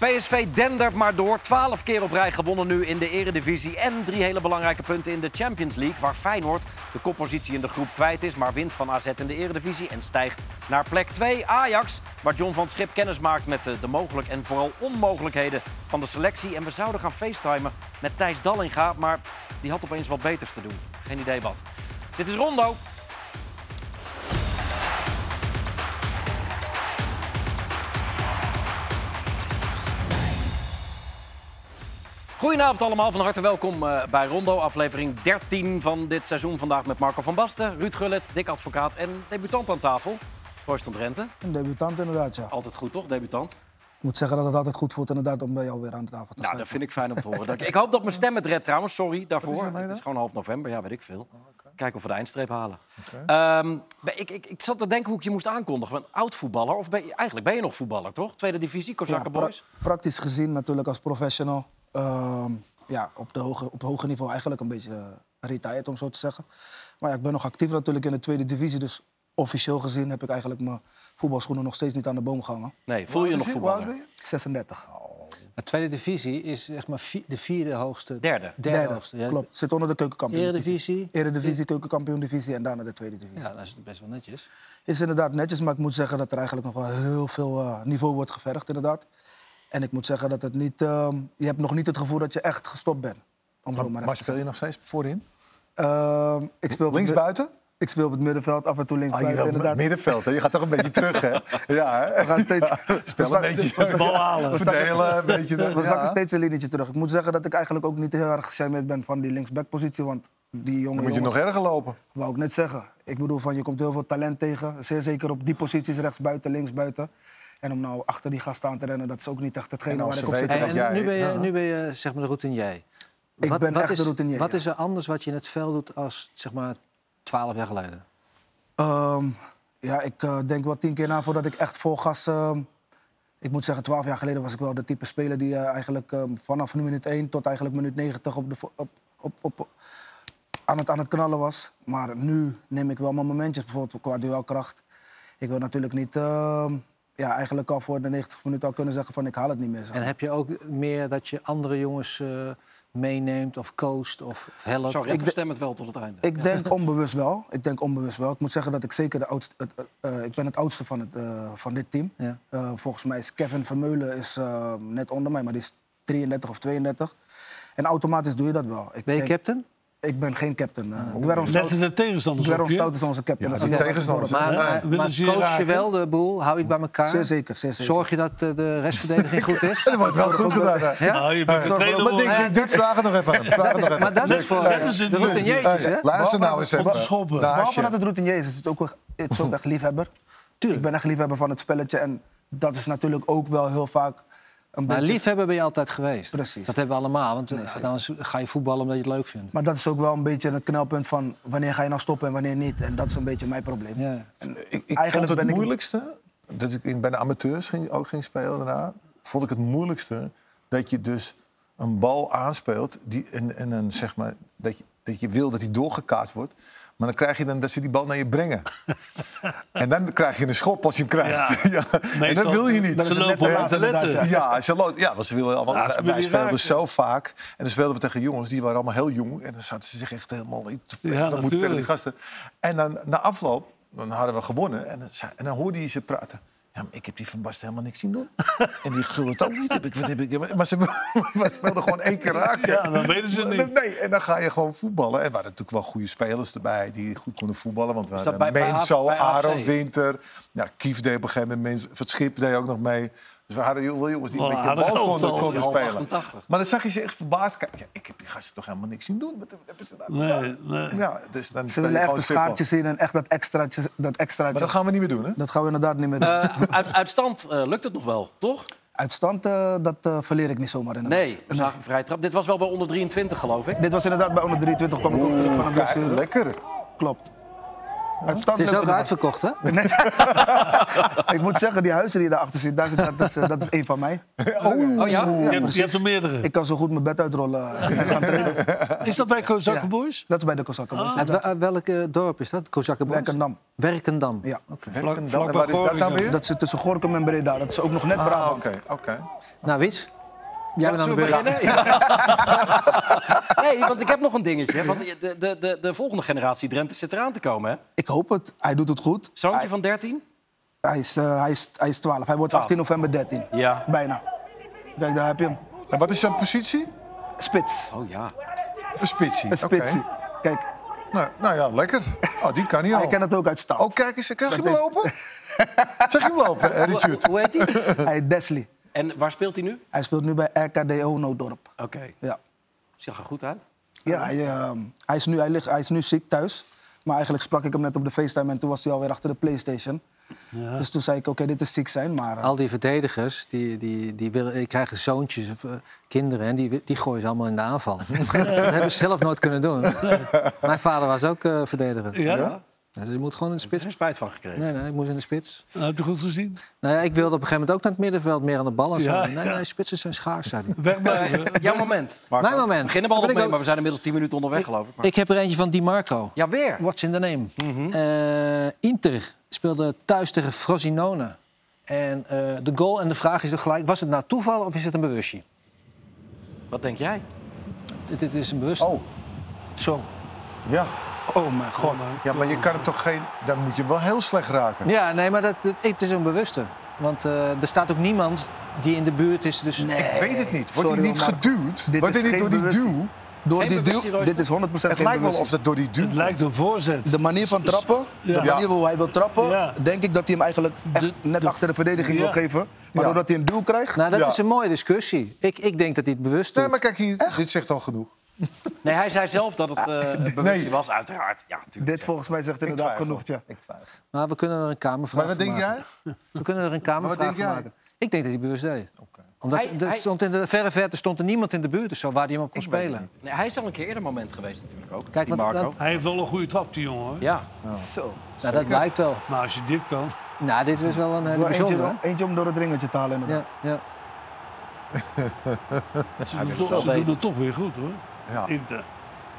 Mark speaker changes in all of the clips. Speaker 1: PSV dendert maar door. 12 keer op rij gewonnen nu in de Eredivisie. En drie hele belangrijke punten in de Champions League. Waar Feyenoord de koppositie in de groep kwijt is. Maar wint van AZ in de Eredivisie en stijgt naar plek 2. Ajax, waar John van Schip kennis maakt met de, de mogelijk en vooral onmogelijkheden van de selectie. En we zouden gaan facetimen met Thijs Dallinga. Maar die had opeens wat beters te doen. Geen idee wat. Dit is Rondo. Goedenavond allemaal, van harte welkom eh, bij Rondo, aflevering 13 van dit seizoen. Vandaag met Marco van Basten, Ruud Gullet, Dick Advocaat en debutant aan tafel. Royce van Drenthe.
Speaker 2: Een debutant inderdaad, ja.
Speaker 1: Altijd goed toch, debutant?
Speaker 2: Ik moet zeggen dat het altijd goed voelt inderdaad om bij jou weer aan tafel te
Speaker 1: Nou,
Speaker 2: staan.
Speaker 1: dat vind ik fijn om te horen. Dank je. Ik hoop dat mijn stem het redt trouwens, sorry daarvoor.
Speaker 3: ermee
Speaker 1: het is nou
Speaker 3: dan?
Speaker 1: gewoon half november, ja, weet ik veel. Kijken of we de eindstreep halen. Ehm, ben- ik, ik, ik zat te denken hoe ik je moest aankondigen. Een oud voetballer, of ben je, eigenlijk ben je nog voetballer, toch? Tweede divisie,
Speaker 2: ja,
Speaker 1: Kozakken
Speaker 2: pra-
Speaker 1: Boys.
Speaker 2: praktisch gezien natuurlijk als professional. ehm, ja, op, de hoge, op hoger niveau eigenlijk een beetje eh, retired, om zo te zeggen. Maar ja, ik ben nog actief natuurlijk in de tweede divisie. Dus officieel gezien heb ik eigenlijk mijn voetbalschoenen nog steeds niet aan de boom gehangen.
Speaker 1: Nee, voel je je nog
Speaker 3: Hoe oud ben
Speaker 1: voetballer?
Speaker 3: je?
Speaker 2: 36.
Speaker 4: De tweede divisie is zeg maar vi- de vierde hoogste.
Speaker 1: Derde.
Speaker 4: Derde,
Speaker 2: Derde,
Speaker 4: hoogste. ja.
Speaker 2: klopt. Zit onder de keukenkampioen
Speaker 4: Eredivisie.
Speaker 2: Eredivisie, keukenkampioen divisie en daarna de tweede divisie.
Speaker 4: Ja, dat is best wel netjes.
Speaker 2: is inderdaad netjes, maar ik moet zeggen dat er eigenlijk nog wel heel veel eh, niveau wordt gevergd, inderdaad. En ik moet zeggen dat het niet, ehm, je hebt nog niet het gevoel dat je echt gestopt bent. Om zo maar
Speaker 3: Oh, Maar,
Speaker 2: even te
Speaker 3: speel je nog steeds voorin?
Speaker 2: zeggen. Ehm, ik speel op het
Speaker 3: Links Ah,
Speaker 2: mid-
Speaker 3: buiten?
Speaker 2: Ik speel op het middenveld, af en toe links
Speaker 3: Ah, je
Speaker 2: buiten,
Speaker 3: wilt
Speaker 2: inderdaad.
Speaker 3: middenveld, hè? Je gaat toch een beetje terug, hè? Ja, hè?
Speaker 2: We gaan steeds... we
Speaker 3: Speel een
Speaker 2: zakken- we
Speaker 3: beetje.
Speaker 2: zakken-
Speaker 3: Bal halen. Verdelen, een beetje.
Speaker 2: We
Speaker 3: ja.
Speaker 2: zakken steeds een linietje terug. Ik moet zeggen dat ik eigenlijk ook niet heel erg gecharmeerd ben van die linksbackpositie, want die jonge
Speaker 3: Dan moet je
Speaker 2: jongens-
Speaker 3: nog erger lopen.
Speaker 2: Wou ik net zeggen. Ik bedoel, van, je komt heel veel talent tegen. Zeer zeker op die posities, rechtsbuiten, linksbuiten. En om nou achter die gasten aan te rennen, dat is ook niet echt hetgene
Speaker 3: En als
Speaker 2: waar ik
Speaker 3: ze
Speaker 2: op zit.
Speaker 3: weten-
Speaker 4: Hey,
Speaker 3: dat
Speaker 4: en
Speaker 3: jij-
Speaker 4: nu, ben je,
Speaker 3: Ja.
Speaker 4: nu ben je zeg maar de routinier.
Speaker 2: Ik ben echt
Speaker 4: is,
Speaker 2: de routinier,
Speaker 4: Wat
Speaker 2: ja.
Speaker 4: is er anders wat je in het veld doet als zeg maar twaalf jaar geleden?
Speaker 2: Ehm, ja, ik eh, denk wel tien keer na voordat ik echt vol gas... ehm, ik moet zeggen, twaalf jaar geleden was ik wel de type speler die eh, eigenlijk ehm, vanaf minuut 1 tot eigenlijk minuut 90 op de, vo- op, op, op, aan, het, aan het knallen was. Maar nu neem ik wel mijn momentjes, bijvoorbeeld qua duelkracht. Ik wil natuurlijk niet ehm, ja, eigenlijk al voor de 90 minuten al kunnen zeggen van ik haal het niet meer. zeg
Speaker 4: En heb je ook meer dat je andere jongens eh, meeneemt of coacht of, of helpt?
Speaker 1: Sorry, ik verstem het wel tot het einde.
Speaker 2: Ik denk onbewust wel. Ik denk onbewust wel. Ik moet zeggen dat ik zeker de oudste... Het, eh, eh, ik ben het oudste van, het, eh, van dit team.
Speaker 4: Ja.
Speaker 2: Eh, volgens mij is Kevin Vermeulen is, eh, net onder mij, maar die is 33 of 32. En automatisch doe je dat wel. Ik,
Speaker 4: Ben je Oh.
Speaker 2: denk-
Speaker 4: captain?
Speaker 2: ik ben geen captain. eh Dweron Stout,
Speaker 5: Letten de tegenstanders
Speaker 2: Dweron
Speaker 5: op je.
Speaker 2: Stout is onze captain.
Speaker 3: Ja,
Speaker 2: Dat is
Speaker 3: die
Speaker 2: een-
Speaker 3: tegenstanders.
Speaker 4: Maar,
Speaker 3: Nee.
Speaker 4: maar,
Speaker 5: Willen
Speaker 4: maar
Speaker 5: ze je
Speaker 4: coach je
Speaker 5: raken?
Speaker 4: wel de boel? Hou je het bij elkaar?
Speaker 2: Zeer zeker, zeer zeker.
Speaker 4: Zorg je dat eh, de restverdediging goed is?
Speaker 3: Dat wordt wel goed gedaan. hè?
Speaker 4: Ja?
Speaker 5: Nou, je bent
Speaker 2: Zorg
Speaker 5: meteen
Speaker 2: erop.
Speaker 3: Maar
Speaker 5: al-
Speaker 3: Dick, Dick, Dick, vraag het nog even aan hem. Vraag het
Speaker 4: Dat is,
Speaker 3: nog even.
Speaker 4: maar dat is voor
Speaker 5: dat
Speaker 4: eh,
Speaker 5: is het
Speaker 4: de
Speaker 5: doel.
Speaker 4: routiniertjes, hè?
Speaker 3: Hey, Luister nou eens
Speaker 5: Op
Speaker 3: even.
Speaker 5: de schoppen.
Speaker 2: Behalve
Speaker 3: Naasje.
Speaker 2: dat het routinier is, is het ook, wel- het is ook echt liefhebber.
Speaker 4: Tuurlijk.
Speaker 2: Ik ben echt liefhebber van het spelletje. En dat is natuurlijk ook wel heel vaak een
Speaker 4: Maar
Speaker 2: beetje...
Speaker 4: liefhebber ben je altijd geweest.
Speaker 2: Precies.
Speaker 4: Dat hebben we allemaal. Want eh, anders ga je voetballen omdat je het leuk vindt.
Speaker 2: Maar dat is ook wel een beetje het knelpunt van wanneer ga je nou stoppen en wanneer niet. En dat is een beetje mijn probleem.
Speaker 4: Ja.
Speaker 3: Ik, ik
Speaker 2: Eigenlijk
Speaker 3: vond het
Speaker 2: ben ik-
Speaker 3: moeilijkste, dat ik in- bij de amateurs ging, ook ging spelen daarna, vond ik het moeilijkste dat je dus een bal aanspeelt die, en, en een, zeg maar, dat, je, dat je wil dat die doorgekaatst wordt. Maar dan krijg je dan dat ze die bal naar je brengen. en dan krijg je een schop als je hem krijgt. Ja. En dat
Speaker 5: Meestal-
Speaker 3: wil je niet.
Speaker 5: Ze lopen
Speaker 3: Ja,
Speaker 5: op te
Speaker 2: inderdaad,
Speaker 5: letten.
Speaker 3: Ja, ze lo- ja, want ze willen, want
Speaker 5: Ja, ze willen
Speaker 3: wij
Speaker 5: je
Speaker 3: speelden
Speaker 5: raken.
Speaker 3: zo vaak. En dan speelden we tegen jongens, die waren allemaal heel jong. En dan zaten ze zich echt helemaal niet te
Speaker 5: Ja,
Speaker 3: ja, dan moet je tegen die
Speaker 5: natuurlijk.
Speaker 3: gasten. En dan na afloop, dan hadden we gewonnen. En dan, zei- en dan hoorde je ze praten. Ja, maar ik heb die Van Basten helemaal niks zien doen. En die gul het ook niet. Heb ik, wat heb ik, maar ze maar ze speelden gewoon één keer raken.
Speaker 5: Ja, dan weten ze het niet.
Speaker 3: Nee, en dan ga je gewoon voetballen. En er waren natuurlijk wel goede spelers erbij die goed konden voetballen. Want we
Speaker 1: Is dat
Speaker 3: hadden
Speaker 1: bij- bij
Speaker 3: Menzo,
Speaker 1: AFC?
Speaker 3: Aaron Winter. Ja, Kief deed op een gegeven moment. Mens- Van Schip deed ook nog mee. Dus we hadden heel veel jongens
Speaker 1: Oh,
Speaker 3: die een
Speaker 5: Voilà,
Speaker 3: beetje
Speaker 5: dat
Speaker 3: bal
Speaker 5: elftal.
Speaker 3: konden, konden
Speaker 1: Die half
Speaker 3: spelen.
Speaker 1: 88.
Speaker 3: Maar dan zag je ze echt verbaasd kijken. Ja, ik heb die gasten toch helemaal niks zien doen. Wat hebben ze nou gedaan?
Speaker 5: Nee, nee.
Speaker 3: Ja, dus dan
Speaker 2: Ze
Speaker 3: speel je
Speaker 2: willen echt
Speaker 3: gewoon
Speaker 2: de
Speaker 3: simpel.
Speaker 2: schaartjes zien en echt dat extraatje. Dat, extraatje.
Speaker 3: Maar
Speaker 2: Dat,
Speaker 3: dat gaan we niet meer doen, hè?
Speaker 2: gaan we inderdaad niet meer doen.
Speaker 1: Eh, uit, uit stand eh, lukt het nog wel, toch?
Speaker 2: Uit stand, eh, dat eh, verleer ik niet zomaar inderdaad.
Speaker 1: Nee, we zagen een vrij trap. Dit was wel bij onder 23, geloof ik.
Speaker 2: Dit was inderdaad bij onder 23, kwam ik ook terug van een
Speaker 3: Kijk,
Speaker 2: blessure.
Speaker 3: lekker.
Speaker 2: Klopt.
Speaker 4: Het is ook
Speaker 2: hard.
Speaker 4: uitverkocht, hè?
Speaker 2: Ik moet zeggen, die huizen die daarachter zitten, daar zit, dat, dat, is, eh, dat is één van mij.
Speaker 1: Oh ja?
Speaker 5: je, hebt, je hebt er meerdere.
Speaker 2: Ik kan zo goed mijn bed uitrollen eh, en gaan trainen.
Speaker 5: Is dat bij Kozakken
Speaker 2: Ja.
Speaker 5: Boys?
Speaker 2: Dat is bij de Kozakken. Boys,
Speaker 4: Uit
Speaker 2: inderdaad.
Speaker 4: wel- uit welk eh, dorp is dat? Kozakkenbos?
Speaker 2: Werkendam.
Speaker 4: Werkendam.
Speaker 2: Ja.
Speaker 5: Vlak,
Speaker 3: En dan-
Speaker 5: vlakbij
Speaker 3: en waar is dat nou
Speaker 5: Groningen.
Speaker 3: weer?
Speaker 2: Dat zit tussen Gorkum en Breda. Dat is ook nog net
Speaker 3: Ah,
Speaker 2: Brabant.
Speaker 3: oké, oké.
Speaker 4: Nou, Wits, jij bent aan de
Speaker 1: Zullen we
Speaker 4: beurt.
Speaker 1: beginnen? Ja. nee, want ik heb nog een dingetje. hè, Want de, de, de, de volgende generatie Drenthe zit eraan te komen, hè?
Speaker 2: Ik hoop het. Hij doet het goed.
Speaker 1: Zoontje
Speaker 2: Hij-
Speaker 1: van 13?
Speaker 2: Hij is, eh, hij, is, hij is 12. Hij wordt 18 november 13.
Speaker 1: Ja.
Speaker 2: Bijna. Kijk, daar heb je hem.
Speaker 3: En wat is zijn positie?
Speaker 2: Spits.
Speaker 1: Oh ja.
Speaker 3: Een spitsie.
Speaker 2: Een spitsie.
Speaker 3: Oké.
Speaker 2: Kijk,
Speaker 3: Nou, nou ja, lekker. Oh, die kan niet al.
Speaker 2: hij kent het ook uit Staal.
Speaker 3: Oh, kijk eens. Kan je hem lopen? Zeg je hem lopen, eh,
Speaker 1: Hoe,
Speaker 3: Richard?
Speaker 1: hoe heet hij?
Speaker 2: Hij is Desley.
Speaker 1: En waar speelt hij nu?
Speaker 2: Hij speelt nu bij RKDO Noodorp.
Speaker 1: Oké.
Speaker 2: Ja.
Speaker 1: Ziet er goed uit.
Speaker 2: Ja, hij, ehm, hij, is nu, hij, ligt, hij is nu ziek thuis. Maar eigenlijk sprak ik hem net op de FaceTime en toen was hij alweer achter de PlayStation. Dus toen zei ik, oké, dit is ziek zijn, maar... eh,
Speaker 4: Al die verdedigers, die, die, die, willen, die krijgen zoontjes of eh, kinderen... en die, die gooien ze allemaal in de aanval. dat hebben ze zelf nooit kunnen doen. Mijn vader was ook eh, verdediger.
Speaker 5: Ja?
Speaker 4: Dus je moet gewoon in de
Speaker 1: Daar heb
Speaker 4: spits.
Speaker 1: je er spijt van gekregen.
Speaker 4: Nee, nee, ik moest in de spits.
Speaker 5: Nou, heb je goed gezien?
Speaker 4: Nou ja, ik wilde op een gegeven moment ook naar het middenveld, meer aan de bal en zo.
Speaker 5: Ja,
Speaker 4: nee,
Speaker 5: ja.
Speaker 4: nee, spitsen zijn schaars, zei hij.
Speaker 5: Wegblijven.
Speaker 1: Eh, Jouw moment, Marco.
Speaker 4: Mijn moment.
Speaker 1: We beginnen we al nog
Speaker 4: Daar ben
Speaker 1: mee,
Speaker 4: ik ook-
Speaker 1: maar we zijn inmiddels 10 minuten onderweg, geloof ik. Maar...
Speaker 4: Ik heb er eentje van Di Marco.
Speaker 1: Ja, weer.
Speaker 4: What's in the name? Eh, Inter speelde thuis tegen Frosinone. En eh, de goal en de vraag is er gelijk... was het nou toeval of is het een bewustje?
Speaker 1: Wat denk jij?
Speaker 4: Dit, dit is een bewust.
Speaker 3: Oh,
Speaker 4: Zo.
Speaker 3: ja.
Speaker 2: oh mijn god.
Speaker 3: Ja, maar je kan hem toch geen... Dan moet je hem wel heel slecht raken.
Speaker 4: Ja, nee, maar dat, dat- het is een bewuste. Want eh, er staat ook niemand die in de buurt is. Dus
Speaker 3: Ik weet het niet. Wordt
Speaker 2: Sorry,
Speaker 3: hij niet
Speaker 2: hoor, maar
Speaker 3: geduwd?
Speaker 2: dit
Speaker 3: Wordt
Speaker 2: is
Speaker 3: hij
Speaker 2: geen
Speaker 3: niet door die
Speaker 2: bewustzijn.
Speaker 3: duw?
Speaker 2: Door
Speaker 1: Geen
Speaker 2: die
Speaker 1: bewustzijn,
Speaker 2: duw,
Speaker 1: Royce.
Speaker 2: dit is 100%
Speaker 3: Het
Speaker 2: geen
Speaker 3: lijkt wel of
Speaker 2: bewustzijn.
Speaker 3: dat door die duw...
Speaker 5: Het lijkt een voorzet.
Speaker 2: De manier van trappen, de
Speaker 3: Ja.
Speaker 2: manier hoe hij wil trappen...
Speaker 5: Ja.
Speaker 2: denk ik dat hij hem eigenlijk echt
Speaker 5: De-
Speaker 2: net achter de verdediging
Speaker 5: Ja.
Speaker 2: wil geven. Maar
Speaker 3: Ja.
Speaker 2: doordat hij een duw krijgt...
Speaker 4: nou, dat
Speaker 3: Ja.
Speaker 4: is een mooie discussie. Ik, ik denk dat hij het bewust doet.
Speaker 3: Nee, maar kijk hier. Dit zegt al genoeg.
Speaker 1: Nee, hij zei zelf dat het eh bewustje was, uiteraard. Ja, natuurlijk.
Speaker 2: dit volgens mij zegt
Speaker 3: Ik
Speaker 2: inderdaad
Speaker 3: twijfel.
Speaker 2: genoeg, ja.
Speaker 3: Ik twijfel.
Speaker 4: Maar we kunnen er een kamervraag
Speaker 3: Maar wat
Speaker 4: van
Speaker 3: denk
Speaker 4: maken.
Speaker 3: jij?
Speaker 4: We kunnen er een
Speaker 3: Maar
Speaker 4: kamervraag
Speaker 3: wat
Speaker 4: van
Speaker 3: denk jij?
Speaker 4: maken. Ik denk dat hij bewust deed. Omdat
Speaker 1: Hij-
Speaker 4: er
Speaker 1: hij-
Speaker 4: stond in de verre verte stond er niemand in de buurt of zo waar hij hem op kon spelen.
Speaker 1: Nee, hij is al een keer eerder moment geweest natuurlijk ook.
Speaker 4: Kijk,
Speaker 1: die
Speaker 4: want-
Speaker 1: Marco.
Speaker 4: want-
Speaker 5: Hij heeft wel een goede trap, die jongen. hoor.
Speaker 1: Ja.
Speaker 2: Zo.
Speaker 4: Nou, dat lijkt wel.
Speaker 5: Maar als je dit kan...
Speaker 4: Nou, dit was wel een hele
Speaker 2: Wel
Speaker 4: bijzondere.
Speaker 2: Eentje,
Speaker 4: hè?
Speaker 2: eentje om door het ringetje te halen, inderdaad.
Speaker 4: Ja, ja.
Speaker 5: Ze, doen,
Speaker 1: wel
Speaker 5: toch, ze
Speaker 1: beter.
Speaker 5: doen het toch weer goed, hoor.
Speaker 3: Ja.
Speaker 5: Inter.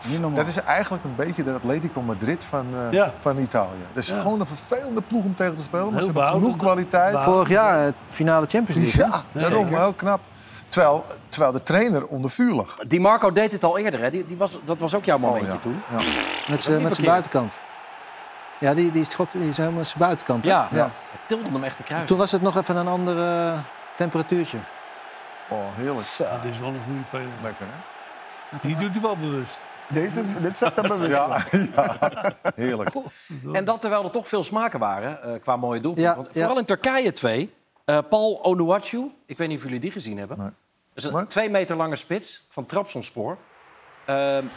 Speaker 2: Niet normaal.
Speaker 3: Dat is eigenlijk een beetje de Atletico Madrid van, eh,
Speaker 5: Ja.
Speaker 3: van Italië. Dat is
Speaker 5: Ja.
Speaker 3: gewoon een vervelende ploeg om tegen te spelen. Maar
Speaker 5: Heel
Speaker 3: ze hebben genoeg
Speaker 5: behoudend.
Speaker 3: kwaliteit.
Speaker 5: Behoudend.
Speaker 4: Vorig jaar eh, finale Champions League. hè?
Speaker 3: Ah. Ja, daarom.
Speaker 5: Zeker.
Speaker 3: Heel knap. Terwijl, terwijl de trainer onder vuur lag.
Speaker 1: Die Marco deed het al eerder, hè? Die, die was, dat was ook jouw momentje
Speaker 3: Oh, ja.
Speaker 1: toen.
Speaker 3: Ja.
Speaker 4: Met zijn
Speaker 1: niet
Speaker 4: met zijn
Speaker 1: verkeerd.
Speaker 4: buitenkant. Ja, die, die, schopte, die is helemaal zijn buitenkant. hè?
Speaker 1: Ja, hij tilde hem echt te kruis.
Speaker 4: Toen was het nog even een ander eh, temperatuurtje.
Speaker 3: Oh, heerlijk.
Speaker 5: Ja, dit is wel een goede speler.
Speaker 3: Lekker, hè?
Speaker 5: Die doet hij wel bewust.
Speaker 2: Deze is, dit zegt hem bewust.
Speaker 3: Ja, ja. heerlijk.
Speaker 1: En dat terwijl er toch veel smaken waren eh, qua mooie doelpunten.
Speaker 4: Ja,
Speaker 1: Want
Speaker 4: ja.
Speaker 1: vooral in Turkije twee. Eh, Paul Onuachu, ik weet niet of jullie die gezien hebben.
Speaker 3: Nee.
Speaker 1: Dat is een
Speaker 3: Maar-
Speaker 1: twee meter lange spits van Trabzonspor. Ehm, d-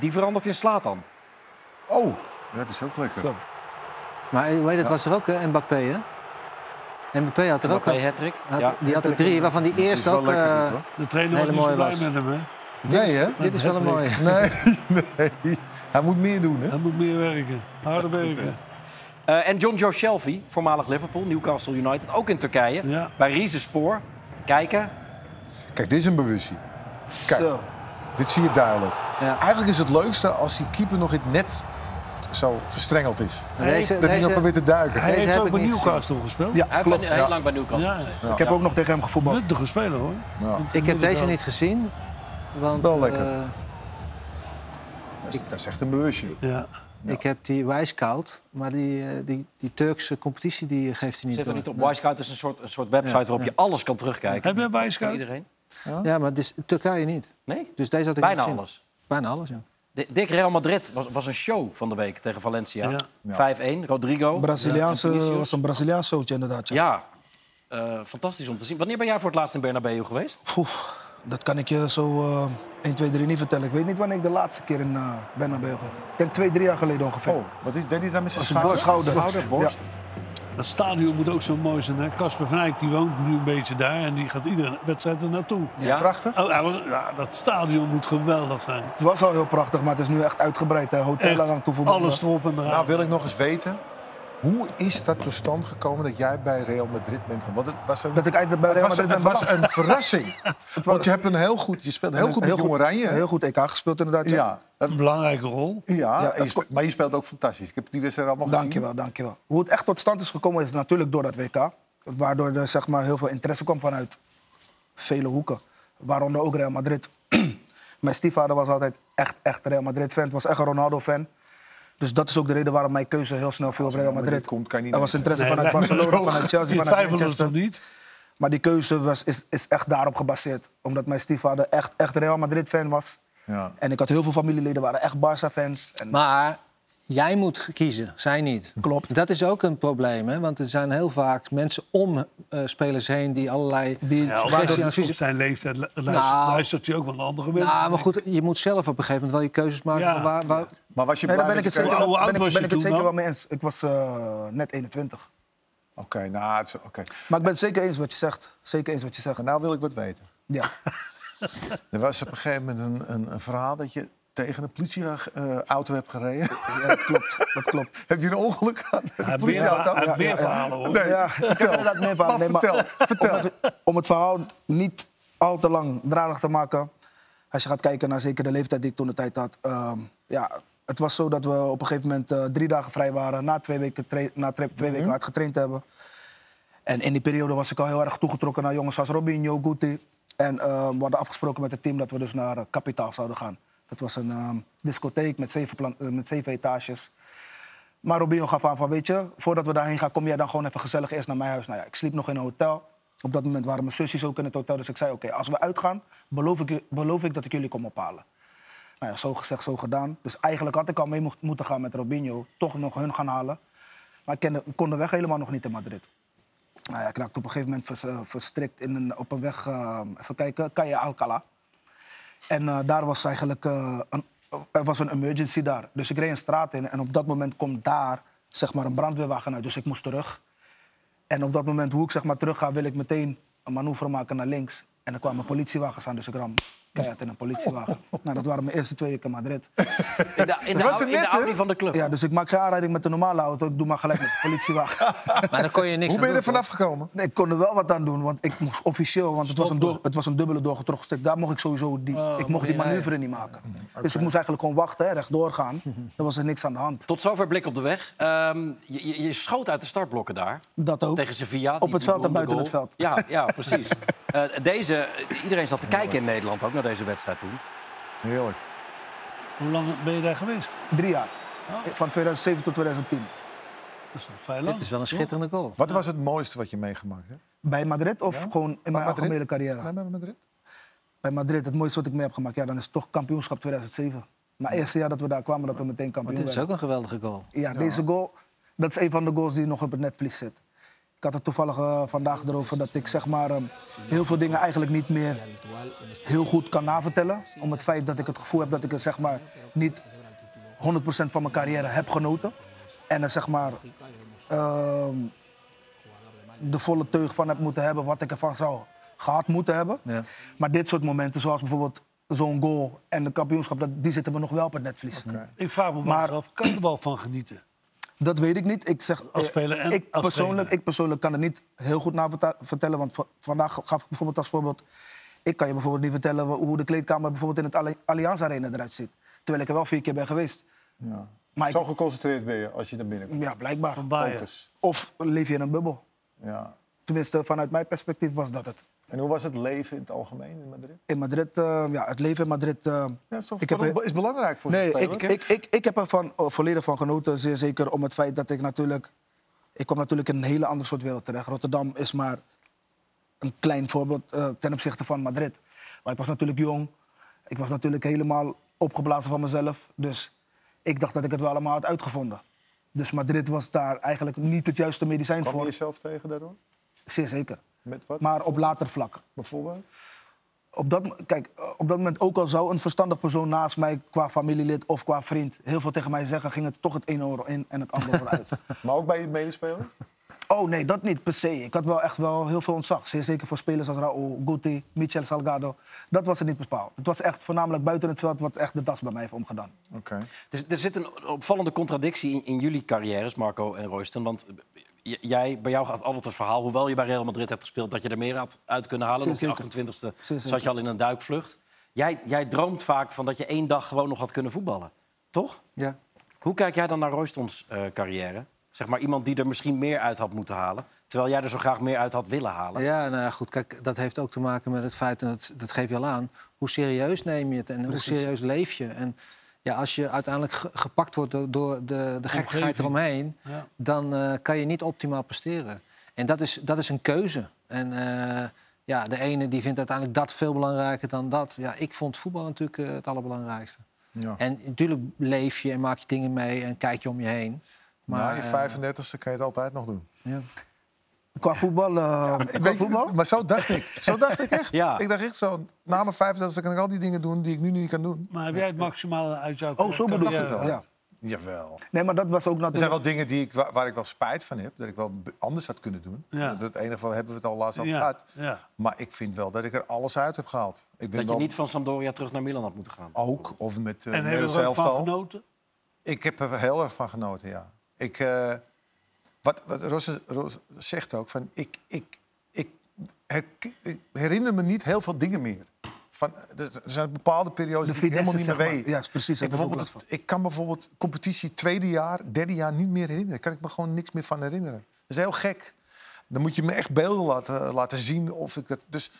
Speaker 1: die verandert in Slatan.
Speaker 3: Oh, ja, dat is ook lekker.
Speaker 2: Zo.
Speaker 4: Maar eh, hoe heet het, was er ook, hè? Mbappé, hè? Mbappé had er ook
Speaker 1: Mbappé
Speaker 4: een.
Speaker 1: hattrick.
Speaker 4: Had-
Speaker 1: Ja.
Speaker 4: die had er drie, waarvan die
Speaker 3: Dat is
Speaker 4: eerste
Speaker 3: wel
Speaker 4: ook...
Speaker 3: lekker,
Speaker 4: eh,
Speaker 3: dit, hoor.
Speaker 5: De trainer was
Speaker 4: Hele
Speaker 5: niet zo
Speaker 4: mooie
Speaker 5: blij
Speaker 4: was.
Speaker 5: met hem, hè.
Speaker 3: Nee, hè?
Speaker 4: dit is wel een mooie.
Speaker 3: Nee, nee. Hij moet meer doen, hè?
Speaker 5: Hij moet meer werken. Harder werken.
Speaker 1: Eh, en John Joe Shelby, voormalig Liverpool, Newcastle United, ook in Turkije.
Speaker 5: Ja.
Speaker 1: Bij Rizespor. Kijken.
Speaker 3: Kijk, dit is een bewustzijn. Kijk.
Speaker 2: Zo.
Speaker 3: Dit zie je duidelijk.
Speaker 4: Ja.
Speaker 3: Eigenlijk is het leukste als die keeper nog in het net zo verstrengeld is.
Speaker 4: Maar Deze,
Speaker 3: Dat hij nog
Speaker 4: deze-
Speaker 3: probeert te duiken.
Speaker 5: Hij
Speaker 4: Deze
Speaker 5: heeft
Speaker 4: heb
Speaker 5: ook
Speaker 4: ik
Speaker 5: bij
Speaker 4: niet
Speaker 5: Newcastle gespeeld.
Speaker 2: Ja,
Speaker 1: Hij heeft
Speaker 2: klopt.
Speaker 1: bij- heel lang bij Newcastle
Speaker 5: Ja.
Speaker 1: gezeten.
Speaker 2: Ik heb ook nog tegen hem gevoetbald.
Speaker 5: Nuttige speler, hoor.
Speaker 3: Ja.
Speaker 4: ik heb deze niet gezien. Want,
Speaker 3: Wel lekker.
Speaker 4: eh,
Speaker 3: Dat is- Dat is echt een bewustje.
Speaker 5: Ja.
Speaker 4: ik heb die Wijskoud, maar die, eh, die, die Turkse competitie die geeft hij
Speaker 1: Zit
Speaker 4: niet
Speaker 1: er
Speaker 4: door.
Speaker 1: niet op. Wisecout is een soort, een soort website
Speaker 4: Ja,
Speaker 1: waarop je alles kan terugkijken.
Speaker 5: Heb je
Speaker 1: Van
Speaker 5: Wisecout?
Speaker 1: Iedereen?
Speaker 4: Ja, maar dus, Turkije niet.
Speaker 1: Nee?
Speaker 4: Dus deze had ik
Speaker 1: Bijna
Speaker 4: niet gezien.
Speaker 1: alles.
Speaker 4: Bijna alles, ja.
Speaker 1: Di- Dick Real Madrid was, was een show van de week tegen Valencia.
Speaker 5: Ja.
Speaker 1: 5-1, Rodrigo.
Speaker 2: Braziliaanse,
Speaker 1: Ja, en Vinicius.
Speaker 2: was een Braziliaans zootje inderdaad. Ja.
Speaker 1: Ja, Eh, fantastisch om te zien. Wanneer ben jij voor het laatst in Bernabeu geweest?
Speaker 2: Poef, dat kan ik je zo eh 1, 2, 3 niet vertellen. Ik weet niet wanneer ik de laatste keer in eh ben naar België. Ik denk twee, drie jaar geleden ongeveer.
Speaker 3: Oh, wat is Danny daar met zijn
Speaker 2: Zijn
Speaker 3: schaats?
Speaker 2: schouder.
Speaker 1: Schouder, borst.
Speaker 2: Ja.
Speaker 5: Dat stadion moet ook zo mooi zijn. hè. Casper van Eyck die woont nu een beetje daar en die gaat iedere wedstrijd er naartoe.
Speaker 1: Ja?
Speaker 3: Prachtig.
Speaker 5: Oh, hij was- ja, dat stadion moet geweldig zijn.
Speaker 2: Het was al heel prachtig, maar het is nu echt uitgebreid. Hè. Hotel aan aan toevoegen.
Speaker 5: Alles erop en eraan.
Speaker 3: Nou wil ik nog eens weten, hoe is dat tot stand gekomen dat jij bij Real Madrid bent? gegaan? Want het was een,
Speaker 2: Dat ik eigenlijk bij
Speaker 3: het
Speaker 2: Real
Speaker 3: was,
Speaker 2: Madrid
Speaker 3: het
Speaker 2: ben
Speaker 3: was
Speaker 2: beland.
Speaker 3: een verrassing. Want je, hebt een heel goed, je speelt heel
Speaker 2: En
Speaker 3: goed
Speaker 2: een
Speaker 3: met Jong Oranje.
Speaker 2: Heel goed EK gespeeld inderdaad. Ja.
Speaker 3: ja, dat-
Speaker 5: Een belangrijke rol.
Speaker 3: ja,
Speaker 2: Ja,
Speaker 3: en je spe- maar je speelt ook fantastisch. Ik heb die wedstrijd allemaal gezien.
Speaker 2: Dankjewel, dankjewel. Hoe het echt tot stand is gekomen is natuurlijk door dat WK. Waardoor er zeg maar, heel veel interesse kwam vanuit vele hoeken. Waaronder ook Real Madrid. mijn stiefvader was altijd echt, echt Real Madrid-fan. Was echt een Ronaldo-fan. Dus dat is ook de reden waarom mijn keuze heel snel viel op Real
Speaker 3: Madrid
Speaker 2: Madrid.
Speaker 3: komt, kan je niet
Speaker 2: er was
Speaker 3: nemen.
Speaker 2: interesse
Speaker 5: Nee,
Speaker 2: vanuit
Speaker 5: lijkt me
Speaker 2: Barcelona,
Speaker 5: ook.
Speaker 2: vanuit Chelsea,
Speaker 5: Je
Speaker 2: vanuit
Speaker 5: twijfelde het
Speaker 2: Manchester.
Speaker 5: toch niet?
Speaker 2: Maar die keuze was, is, is echt daarop gebaseerd. Omdat mijn stiefvader echt, echt Real Madrid-fan was.
Speaker 3: Ja.
Speaker 2: En ik had heel veel familieleden, waren echt Barça-fans. En
Speaker 4: Maar jij moet kiezen, zij niet.
Speaker 2: Klopt.
Speaker 4: Dat is ook een probleem, hè? want er zijn heel vaak mensen om eh, spelers heen die allerlei...
Speaker 2: die,
Speaker 5: Ja,
Speaker 4: waardoor-
Speaker 5: op, op zijn leeftijd lu- luistert,
Speaker 4: Nou.
Speaker 5: luistert hij ook wel naar andere mensen.
Speaker 4: Nou, maar goed, je moet zelf op een gegeven moment wel je keuzes maken.
Speaker 5: Ja.
Speaker 4: van Waar, waar...
Speaker 3: Maar was je
Speaker 2: Nee, daar
Speaker 3: blij
Speaker 2: ben ik het
Speaker 3: dat je
Speaker 2: zeker,
Speaker 5: Hoe
Speaker 2: wel-
Speaker 5: oud
Speaker 2: ben ik,
Speaker 5: was
Speaker 2: ben
Speaker 5: je
Speaker 2: ik het
Speaker 5: toen
Speaker 2: zeker
Speaker 5: dan?
Speaker 2: wel mee eens. Ik was eh, net 21.
Speaker 3: speelt? Oké, nou, het is- oké.
Speaker 2: Maar ik ben het zeker eens wat je zegt. Zeker eens wat je zegt.
Speaker 3: Maar nou wil ik wat weten.
Speaker 2: Ja.
Speaker 3: Er was op een gegeven moment een, een, een verhaal dat je tegen een politieauto hebt gereden.
Speaker 2: ja, dat klopt. Dat klopt.
Speaker 3: Heb je een ongeluk gehad? met
Speaker 5: Ja,
Speaker 3: een
Speaker 5: weer,
Speaker 3: politieauto?
Speaker 5: ja, weer
Speaker 2: ja, ja.
Speaker 5: verhalen hoor.
Speaker 3: Nee,
Speaker 2: Ja, ik heb inderdaad meer verhaal.
Speaker 3: Maar
Speaker 2: Nee, maar
Speaker 3: vertel, vertel.
Speaker 2: Om, even- om het verhaal niet al te lang dradig te maken. Als je gaat kijken naar zeker de leeftijd die ik toen de tijd had. ehm, ja, het was zo dat we op een gegeven moment eh, drie dagen vrij waren. Na twee weken, tra- na tra-
Speaker 3: Mhm.
Speaker 2: twee weken hard getraind te hebben. En in die periode was ik al heel erg toegetrokken naar jongens als Robinho, Guti. En ehm, we hadden afgesproken met het team dat we dus naar eh, Capitaal zouden gaan. Dat was een ehm, discotheek met zeven, plan- eh, met zeven etages. Maar Robinho gaf aan van, weet je, voordat we daarheen gaan... kom jij dan gewoon even gezellig eerst naar mijn huis. Nou ja, ik sliep nog in een hotel. Op dat moment waren mijn zusjes ook in het hotel. Dus ik zei, oké, als we uitgaan, beloof ik, je- beloof ik dat ik jullie kom ophalen. Nou ja, zo gezegd, zo gedaan. Dus eigenlijk had ik al mee mocht- moeten gaan met Robinho. Toch nog hun gaan halen. Maar ik kende- kon de weg helemaal nog niet in Madrid. Nou ja, ik raakte op een gegeven moment vers- eh, verstrikt in een, op een weg, eh, even kijken, Calle Alcala. En eh, daar was eigenlijk eh, een, er was een emergency daar. Dus ik reed een straat in en op dat moment komt daar zeg maar, een brandweerwagen uit. Dus ik moest terug. En op dat moment, hoe ik zeg maar, terug ga, wil ik meteen een manoeuvre maken naar links. En er kwamen politiewagens aan, dus ik ram keihard in een politiewagen. Nou, dat waren mijn eerste twee weken in Madrid.
Speaker 1: In de, in de,
Speaker 3: was
Speaker 1: au-
Speaker 3: het
Speaker 1: in de
Speaker 3: net, hè?
Speaker 1: Audi van de club.
Speaker 2: Ja, dus ik maak geen aanrijding met de normale auto, ik doe maar gelijk met de politiewagen.
Speaker 4: Maar dan kon je niks
Speaker 3: Hoe ben je
Speaker 4: aan
Speaker 3: er
Speaker 4: doen,
Speaker 3: vanaf gekomen?
Speaker 2: Nee, ik kon er wel wat aan doen, want ik moest officieel, want het was, een door, het was een dubbele doorgetrokken stuk. Daar mocht ik sowieso die, ik mocht die manoeuvre niet maken. Dus ik moest eigenlijk gewoon wachten, hè, rechtdoor gaan. Er was er niks aan de hand.
Speaker 1: Tot zover blik op de weg. Ehm, je, je- je schoot uit de startblokken daar.
Speaker 2: Dat ook.
Speaker 1: Tegen Sevilla.
Speaker 2: Op het veld en
Speaker 1: beroemde
Speaker 2: buiten
Speaker 1: goal.
Speaker 2: het
Speaker 1: Ja, ja precies. Eh, deze, iedereen zat te kijken in Nederland ook naar deze wedstrijd toen.
Speaker 3: Heerlijk.
Speaker 5: Hoe lang ben je daar geweest?
Speaker 2: Drie jaar. Van 2007 tot 2010.
Speaker 5: Dat is nog vrij
Speaker 4: toch?
Speaker 5: lang.
Speaker 4: Dit is wel een schitterende goal.
Speaker 3: Wat was het mooiste wat je meegemaakt hebt?
Speaker 2: Bij Madrid of gewoon in mijn
Speaker 3: Madrid?
Speaker 2: algemene carrière?
Speaker 3: Nee, bij Madrid?
Speaker 2: Bij Madrid, het mooiste wat ik mee heb gemaakt, ja, dan is het toch kampioenschap 2007. Maar eerste jaar dat we daar kwamen, dat we meteen
Speaker 4: Want
Speaker 2: kampioen
Speaker 4: dit is
Speaker 2: werden.
Speaker 4: ook een geweldige goal.
Speaker 2: Ja, deze goal, dat is een van de goals die nog op het netvlies zit. Ik had het toevallig eh, vandaag erover dat ik zeg maar ehm, heel veel dingen eigenlijk niet meer heel goed kan navertellen. Om het feit dat ik het gevoel heb dat ik er zeg maar niet 100% van mijn carrière heb genoten. En er zeg maar ehm, de volle teug van heb moeten hebben wat ik ervan zou gehad moeten hebben.
Speaker 4: Ja.
Speaker 2: Maar dit soort momenten, zoals bijvoorbeeld zo'n goal en de kampioenschap, dat, die zitten me nog wel op het netvlies.
Speaker 5: Ik vraag me maar
Speaker 2: Maar-
Speaker 5: af, kan je er wel van genieten?
Speaker 2: Dat weet ik niet. Ik zeg,
Speaker 5: Als
Speaker 2: eh,
Speaker 5: speler en
Speaker 2: ik,
Speaker 5: als
Speaker 2: persoonlijk,
Speaker 5: trainer.
Speaker 2: ik persoonlijk kan het niet heel goed na verta- vertellen. Want va- vandaag gaf ik bijvoorbeeld als voorbeeld... Ik kan je bijvoorbeeld niet vertellen wa- hoe de kleedkamer bijvoorbeeld in het Alli- Allianz Arena eruit ziet. Terwijl ik er wel vier keer ben geweest.
Speaker 3: Ja.
Speaker 2: Maar ik- Ah,
Speaker 3: Zo geconcentreerd ben je als je er binnenkomt.
Speaker 2: Ja, blijkbaar.
Speaker 5: Van Bayern.
Speaker 3: Focus.
Speaker 2: Of leef je in een bubbel.
Speaker 3: Ja.
Speaker 2: Tenminste, vanuit mijn perspectief was dat het.
Speaker 3: En hoe was het leven in het algemeen in Madrid?
Speaker 2: In Madrid, eh, ja, het leven in Madrid... eh,
Speaker 3: Ja, is, toch,
Speaker 2: ik heb
Speaker 3: dat
Speaker 2: heel-
Speaker 3: is belangrijk voor
Speaker 2: Nee,
Speaker 3: zo'n speler.
Speaker 2: ik, ik, ik, ik heb er van, oh, volledig van genoten. Zeer zeker om het feit dat ik natuurlijk... Ik kwam natuurlijk in een hele ander soort wereld terecht. Rotterdam is maar een klein voorbeeld eh, ten opzichte van Madrid. Maar ik was natuurlijk jong. Ik was natuurlijk helemaal opgeblazen van mezelf. Dus ik dacht dat ik het wel allemaal had uitgevonden. Dus Madrid was daar eigenlijk niet het juiste medicijn
Speaker 3: Kwam je
Speaker 2: voor.
Speaker 3: jezelf tegen daardoor?
Speaker 2: Zeer zeker.
Speaker 3: Met wat
Speaker 2: Maar op later vlak
Speaker 3: bijvoorbeeld?
Speaker 2: op dat, mo- kijk, eh, op dat moment, ook al zou een verstandig persoon naast mij, qua familielid of qua vriend, heel veel tegen mij zeggen, ging het toch het ene oor in en het andere oor uit.
Speaker 3: Maar ook bij je medespelers?
Speaker 2: Oh nee, dat niet per se. Ik had wel echt wel heel veel ontzag. Zeer Zeker voor spelers als Raúl, Guti, Michel Salgado. Dat was het niet bepaald. Het was echt voornamelijk buiten het veld wat echt de das bij mij heeft omgedaan.
Speaker 3: Oké.
Speaker 1: Er, er zit een opvallende contradictie in, in jullie carrières, Marco en Royston. Want j- jij, bij jou gaat altijd het verhaal, hoewel je bij Real Madrid hebt gespeeld... dat je er meer had uit kunnen halen.
Speaker 2: Zeer
Speaker 1: Op je
Speaker 2: zeker.
Speaker 1: 28e
Speaker 2: Zeer
Speaker 1: zat je
Speaker 2: zeker.
Speaker 1: al in een duikvlucht. Jij, jij droomt vaak van dat je één dag gewoon nog had kunnen voetballen. Toch?
Speaker 4: Ja.
Speaker 1: Hoe kijk jij dan naar Roystons eh, carrière? Zeg maar iemand die er misschien meer uit had moeten halen... terwijl jij er zo graag meer uit had willen halen.
Speaker 4: Ja, nou ja, goed. Kijk, dat heeft ook te maken met het feit, en dat, dat geef je al aan, hoe serieus neem je het en hoe serieus leef je. En ja, als je uiteindelijk ge- gepakt wordt door, door de, de gekkigheid
Speaker 5: Omgeving.
Speaker 4: eromheen,
Speaker 5: Ja.
Speaker 4: dan eh, kan je niet optimaal presteren. En dat is, dat is een keuze. En eh, ja, de ene die vindt uiteindelijk dat veel belangrijker dan dat. Ja, ik vond voetbal natuurlijk eh, het allerbelangrijkste.
Speaker 3: Ja.
Speaker 4: En natuurlijk leef je en maak je dingen mee en kijk je om je heen.
Speaker 3: Maar
Speaker 4: Maar,
Speaker 3: Nou, je
Speaker 4: eh,
Speaker 3: 35e kan je het altijd nog doen.
Speaker 2: Qua voetbal, eh, qua
Speaker 3: Weet je,
Speaker 2: voetbal
Speaker 3: maar zo dacht ik. Zo dacht ik echt.
Speaker 1: Ja.
Speaker 3: Ik dacht echt zo. Na mijn 35e kan ik al die dingen doen die ik nu niet kan doen.
Speaker 5: Maar heb jij het maximale uit jouw
Speaker 2: Oh, zo bedacht
Speaker 5: carrière?
Speaker 2: ik wel. Ja.
Speaker 3: Jawel.
Speaker 2: Nee, maar dat was ook
Speaker 3: Er zijn
Speaker 2: natuurlijk...
Speaker 3: wel dingen die ik, waar, waar ik wel spijt van heb. Dat ik wel b- anders had kunnen doen.
Speaker 5: Ja.
Speaker 3: Dat Het enige van hebben we het al laatst over
Speaker 5: Ja,
Speaker 3: gehad.
Speaker 5: ja.
Speaker 3: Maar ik vind wel dat ik er alles uit heb gehaald. Ik ben
Speaker 1: Dat je
Speaker 3: wel
Speaker 1: niet van Sampdoria terug naar Milan had moeten gaan.
Speaker 3: ook, of met eh
Speaker 5: En hebben
Speaker 3: Nederlands
Speaker 5: we er ook van
Speaker 3: elftal.
Speaker 5: genoten?
Speaker 3: Ik heb er heel erg van genoten, ja. Ik, eh, wat wat Ros, Ros zegt ook, van ik, ik, ik, herk- ik herinner me niet heel veel dingen meer. Van, er er zijn bepaalde periodes
Speaker 2: De
Speaker 3: die ik oh, helemaal
Speaker 2: finesse,
Speaker 3: niet meer
Speaker 2: zeg maar.
Speaker 3: weet.
Speaker 2: Ja, precies.
Speaker 3: ik,
Speaker 2: heb ik ook
Speaker 3: bijvoorbeeld,
Speaker 2: last van.
Speaker 3: ik kan bijvoorbeeld competitie tweede jaar, derde jaar niet meer herinneren. Daar kan ik me gewoon niks meer van herinneren. Dat is heel gek. Dan moet je me echt beelden laten, laten zien of ik het... Dus,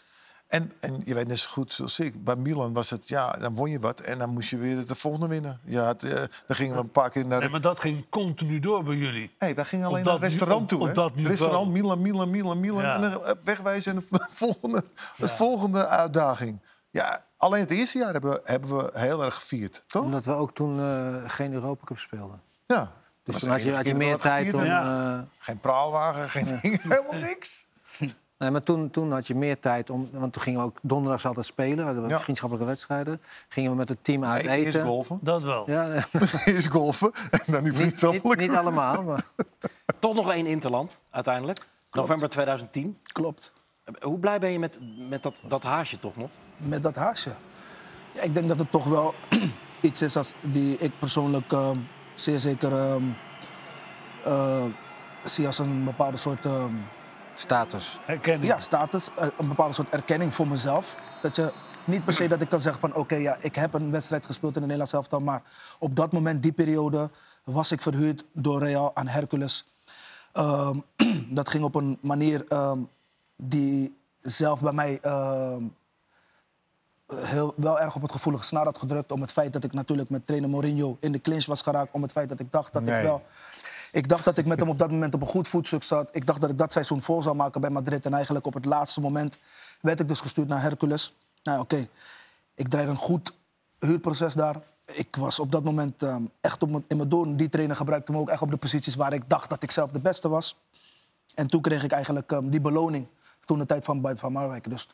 Speaker 3: en, en je weet net zo goed zoals ik, bij Milan was het, ja, dan won je wat en dan moest je weer de volgende winnen. Ja, het, eh, dan gingen we een paar keer naar
Speaker 5: Nee, maar dat ging continu door bij jullie.
Speaker 3: Hey, wij gingen
Speaker 5: Op
Speaker 3: alleen naar
Speaker 5: dat
Speaker 3: het restaurant
Speaker 5: nu-
Speaker 3: toe.
Speaker 5: op- op
Speaker 3: hè?
Speaker 5: dat niveau.
Speaker 3: restaurant, Milan, Milan, Milan, Milan.
Speaker 5: Ja.
Speaker 3: En dan eh, wegwijzen en de volgende, de volgende uitdaging. Ja, alleen het eerste jaar hebben we, hebben we heel erg gevierd, toch?
Speaker 4: Omdat we ook toen eh, geen Europa Cup speelden.
Speaker 3: Ja.
Speaker 4: Dus
Speaker 3: Was
Speaker 4: toen
Speaker 3: de
Speaker 4: had je,
Speaker 3: enige
Speaker 4: had je
Speaker 3: keer
Speaker 4: meer
Speaker 3: dat we
Speaker 4: tijd om...
Speaker 3: gevierden.
Speaker 5: Ja.
Speaker 4: eh,
Speaker 3: Geen praalwagen, geen ding, helemaal niks.
Speaker 4: Nee, maar toen, toen had je meer tijd om. Want toen gingen we ook donderdags altijd spelen. Hadden we
Speaker 3: Ja.
Speaker 4: vriendschappelijke wedstrijden. Gingen we met het team uit
Speaker 3: Nee, eerst
Speaker 4: eten.
Speaker 3: golfen,
Speaker 5: Dat wel.
Speaker 4: Ja, nee,
Speaker 3: eerst golfen en dan die
Speaker 4: niet, niet,
Speaker 3: vriendschappelijke.
Speaker 4: niet allemaal. Maar
Speaker 1: Toch nog één Interland, uiteindelijk. November 2010.
Speaker 2: Klopt.
Speaker 1: Hoe blij ben je met, met dat, dat haasje toch nog?
Speaker 2: met dat haasje. Ja, ik denk dat het toch wel iets is als die ik persoonlijk ehm, zeer zeker ehm, eh, zie als een bepaalde soort ehm,
Speaker 4: status.
Speaker 5: Herkenning.
Speaker 2: ja, status, eh, een bepaalde soort erkenning voor mezelf. Dat je niet per se dat ik kan zeggen van oké, ja, ik heb een wedstrijd gespeeld in de Nederlands elftal, maar op dat moment, die periode, was ik verhuurd door Real aan Hercules. Ehm, dat ging op een manier ehm, die zelf bij mij ehm, heel, wel erg op het gevoelige snaar had gedrukt. Om het feit dat ik natuurlijk met trainer Mourinho in de clinch was geraakt. Om het feit dat ik dacht dat
Speaker 3: Nee.
Speaker 2: ik wel. Ik dacht dat ik met hem op dat moment op een goed voetstuk zat. Ik dacht dat ik dat seizoen vol zou maken bij Madrid. En eigenlijk op het laatste moment werd ik dus gestuurd naar Hercules. Nou, oké. Ik draaide een goed huurproces daar. Ik was op dat moment ehm, echt op mijn- in mijn doorn. Die trainer gebruikte me ook echt op de posities waar ik dacht dat ik zelf de beste was. En toen kreeg ik eigenlijk ehm, die beloning. Toen de tijd van Bart van Marwijk. Dus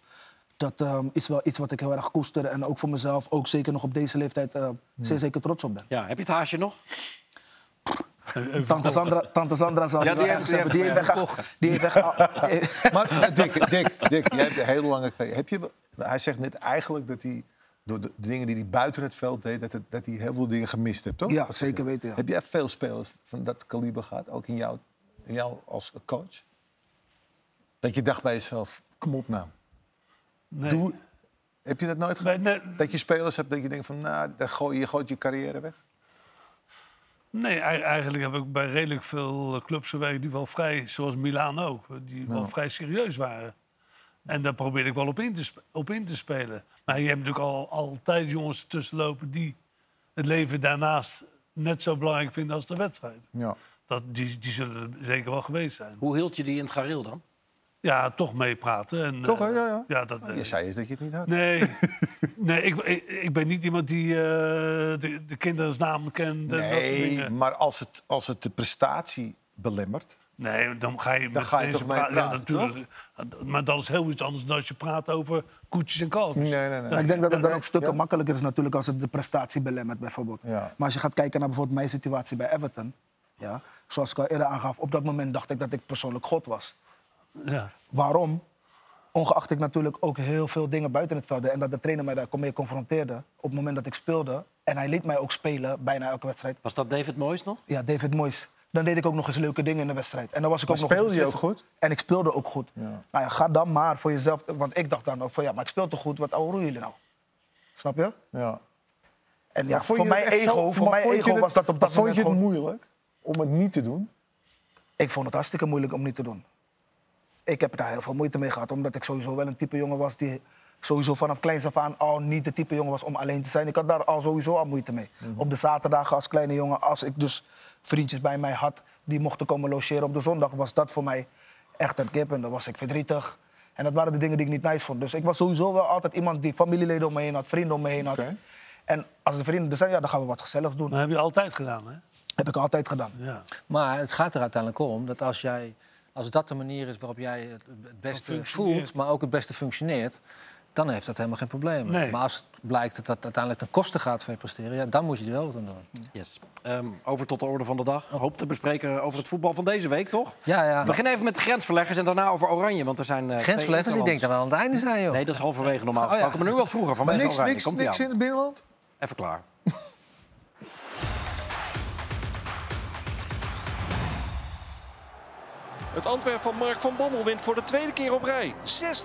Speaker 2: dat ehm, is wel iets wat ik heel erg koester. En ook voor mezelf, ook zeker nog op deze leeftijd, ehm, zeer zeker trots op ben.
Speaker 1: Ja, heb je het haasje nog?
Speaker 2: Tante Sandra, Tante Sandra zou
Speaker 1: Ja,
Speaker 2: het
Speaker 1: die
Speaker 2: wel
Speaker 1: heeft-
Speaker 2: ergens hebben.
Speaker 1: die
Speaker 2: Die heeft
Speaker 1: heeft
Speaker 2: weg. Die heeft weg.
Speaker 3: Maar eh, Dick, Dick, Dick, jij hebt een hele lange carrière. Heb je, wel- hij zegt net eigenlijk dat hij door de dingen die hij buiten het veld deed... dat, het- dat hij heel veel dingen gemist hebt, toch?
Speaker 2: eh, Ja,
Speaker 3: Wat zeg je?
Speaker 2: zeker weten, ja.
Speaker 3: Heb jij veel spelers van dat kaliber gehad, ook in jou, in jou als coach? Dat je dacht bij jezelf, kom op nou.
Speaker 5: Nee.
Speaker 3: Doe, heb je dat nooit
Speaker 5: Nee,
Speaker 3: gehad?
Speaker 5: nee,
Speaker 3: Dat je spelers hebt dat je denkt van, nou, dan gooi, je gooit je carrière weg?
Speaker 5: nee, ei- eigenlijk heb ik bij redelijk veel clubs gewerkt die wel vrij, zoals Milaan ook, die wel vrij serieus waren. En daar probeer ik wel op in te, sp- op in te spelen. Maar je hebt natuurlijk al, altijd jongens tussenlopen die het leven daarnaast net zo belangrijk vinden als de wedstrijd.
Speaker 3: Ja.
Speaker 5: Dat, die, die zullen er zeker wel geweest zijn.
Speaker 1: Hoe hield je die in het gareel dan?
Speaker 5: Ja, toch meepraten. en,
Speaker 3: Toch, hè?
Speaker 5: eh,
Speaker 3: Ja, ja.
Speaker 5: dat, eh,
Speaker 3: Oh, Je zei eens dat je het niet had.
Speaker 5: Nee, nee ik, ik, ik ben niet iemand die eh, de, de kinderens naam kent. en dat soort
Speaker 3: Nee,
Speaker 5: dingen.
Speaker 3: maar als het, als het de prestatie belemmert...
Speaker 5: Nee, dan ga je met
Speaker 3: ga je
Speaker 5: mensen
Speaker 3: toch mee
Speaker 5: Ja,
Speaker 3: praten,
Speaker 5: natuurlijk. Maar dat is heel iets anders dan als je praat over koetjes en kalfjes.
Speaker 3: Nee, nee, nee.
Speaker 2: Maar ik denk dat het dan ook stukken makkelijker is natuurlijk als het de prestatie belemmert bijvoorbeeld.
Speaker 3: Ja.
Speaker 2: Maar als je gaat kijken naar bijvoorbeeld mijn situatie bij Everton. Ja? Zoals ik al eerder aangaf, op dat moment dacht ik dat ik persoonlijk God was.
Speaker 5: Ja.
Speaker 2: Waarom? Ongeacht ik natuurlijk ook heel veel dingen buiten het veld deed en dat de trainer mij daar mee confronteerde op het moment dat ik speelde. En hij liet mij ook spelen bijna elke wedstrijd.
Speaker 1: Was dat David Moyes nog?
Speaker 2: Ja, David Moyes. Dan deed ik ook nog eens leuke dingen in de wedstrijd. En dan was ik
Speaker 3: Maar
Speaker 2: ook nog eens
Speaker 3: speelde je ook
Speaker 2: beslissend. En ik speelde ook goed. Nou ja, ga dan maar voor jezelf. Want ik dacht dan ook van ja, maar ik speel toch goed, wat ouwe roeien jullie nou? Snap je?
Speaker 3: Ja.
Speaker 2: En ja,
Speaker 3: Maar vond
Speaker 2: voor
Speaker 3: je
Speaker 2: mijn
Speaker 3: het echt zo-
Speaker 2: ego, voor
Speaker 3: maar
Speaker 2: mijn
Speaker 3: vond je
Speaker 2: ego
Speaker 3: het-
Speaker 2: was dat op
Speaker 3: maar
Speaker 2: dat moment
Speaker 3: Vond je het
Speaker 2: gewoon...
Speaker 3: moeilijk om het niet te doen?
Speaker 2: Ik vond het hartstikke moeilijk om niet te doen. Ik heb daar heel veel moeite mee gehad, omdat ik sowieso wel een type jongen was die sowieso vanaf kleins af aan al niet de type jongen was om alleen te zijn. Ik had daar al sowieso al moeite mee. Op de zaterdagen als kleine jongen, als ik dus vriendjes bij mij had die mochten komen logeren op de zondag, was dat voor mij echt een kip en dan was ik verdrietig. En dat waren de dingen die ik niet nice vond. Dus ik was sowieso wel altijd iemand die familieleden om me heen had, vrienden om me heen had.
Speaker 3: Oké.
Speaker 2: En als de vrienden er zijn, ja, dan gaan we wat gezelligs doen.
Speaker 5: Maar heb je altijd gedaan, hè?
Speaker 2: Heb ik altijd gedaan.
Speaker 5: Ja.
Speaker 4: Maar het gaat er uiteindelijk om dat als, jij, als dat de manier is waarop jij het, het beste
Speaker 5: functioneert.
Speaker 4: voelt, maar ook het beste functioneert, dan heeft dat helemaal geen probleem.
Speaker 5: Nee.
Speaker 4: Maar als het blijkt dat dat uiteindelijk ten koste gaat van je presteren, ja, dan moet je er wel wat aan doen.
Speaker 1: Yes. Ehm, over tot de orde van de dag. Hoop te bespreken over het voetbal van deze week, toch?
Speaker 4: Ja, ja.
Speaker 1: We beginnen even met de grensverleggers en daarna over Oranje. Want er zijn eh, twee
Speaker 4: Grensverleggers, dus ik denk dat
Speaker 1: interlands.
Speaker 4: we aan het einde zijn, joh.
Speaker 1: Nee, dat is halverwege normaal
Speaker 4: ja.
Speaker 1: gesproken. Maar nu wat vroeger,
Speaker 3: Maar
Speaker 1: vanwege
Speaker 3: niks,
Speaker 1: Oranje.
Speaker 3: niks,
Speaker 1: Komt-ie
Speaker 3: niks
Speaker 1: aan.
Speaker 3: in het binnenland?
Speaker 1: Even klaar.
Speaker 6: Het Antwerp van Mark van Bommel wint voor de tweede keer op rij.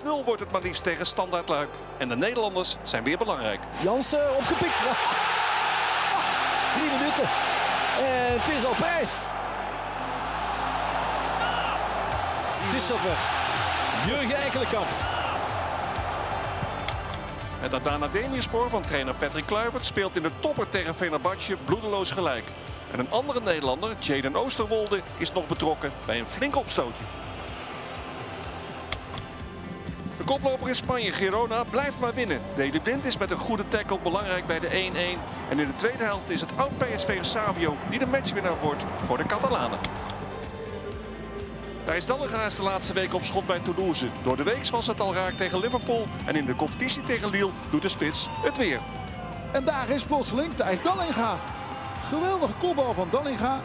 Speaker 6: 6-0 wordt het maar liefst tegen Standaard Luik. En de Nederlanders zijn weer belangrijk.
Speaker 7: Jansen opgepikt. Ja. Drie minuten. En het is al prijs. Het is zover. Jurgen Eikelenkamp.
Speaker 6: Het Adana Demirspor van trainer Patrick Kluivert speelt in de topper tegen Fenerbahce bloedeloos gelijk. En een andere Nederlander, Jaden Oosterwolde, is nog betrokken bij een flink opstootje. De koploper in Spanje, Girona, blijft maar winnen. Deli Blind is met een goede tackle belangrijk bij de 1-1. En in de tweede helft is het oud-PSV Savio die de matchwinnaar wordt voor de Catalanen. Thijs Dallinga is de laatste week op schot bij Toulouse. Door de week was het al raak tegen Liverpool. En in de competitie tegen Lille doet de spits het weer.
Speaker 8: En daar is plotseling Thijs Dallinga. Geweldige kopbal van Dallinga.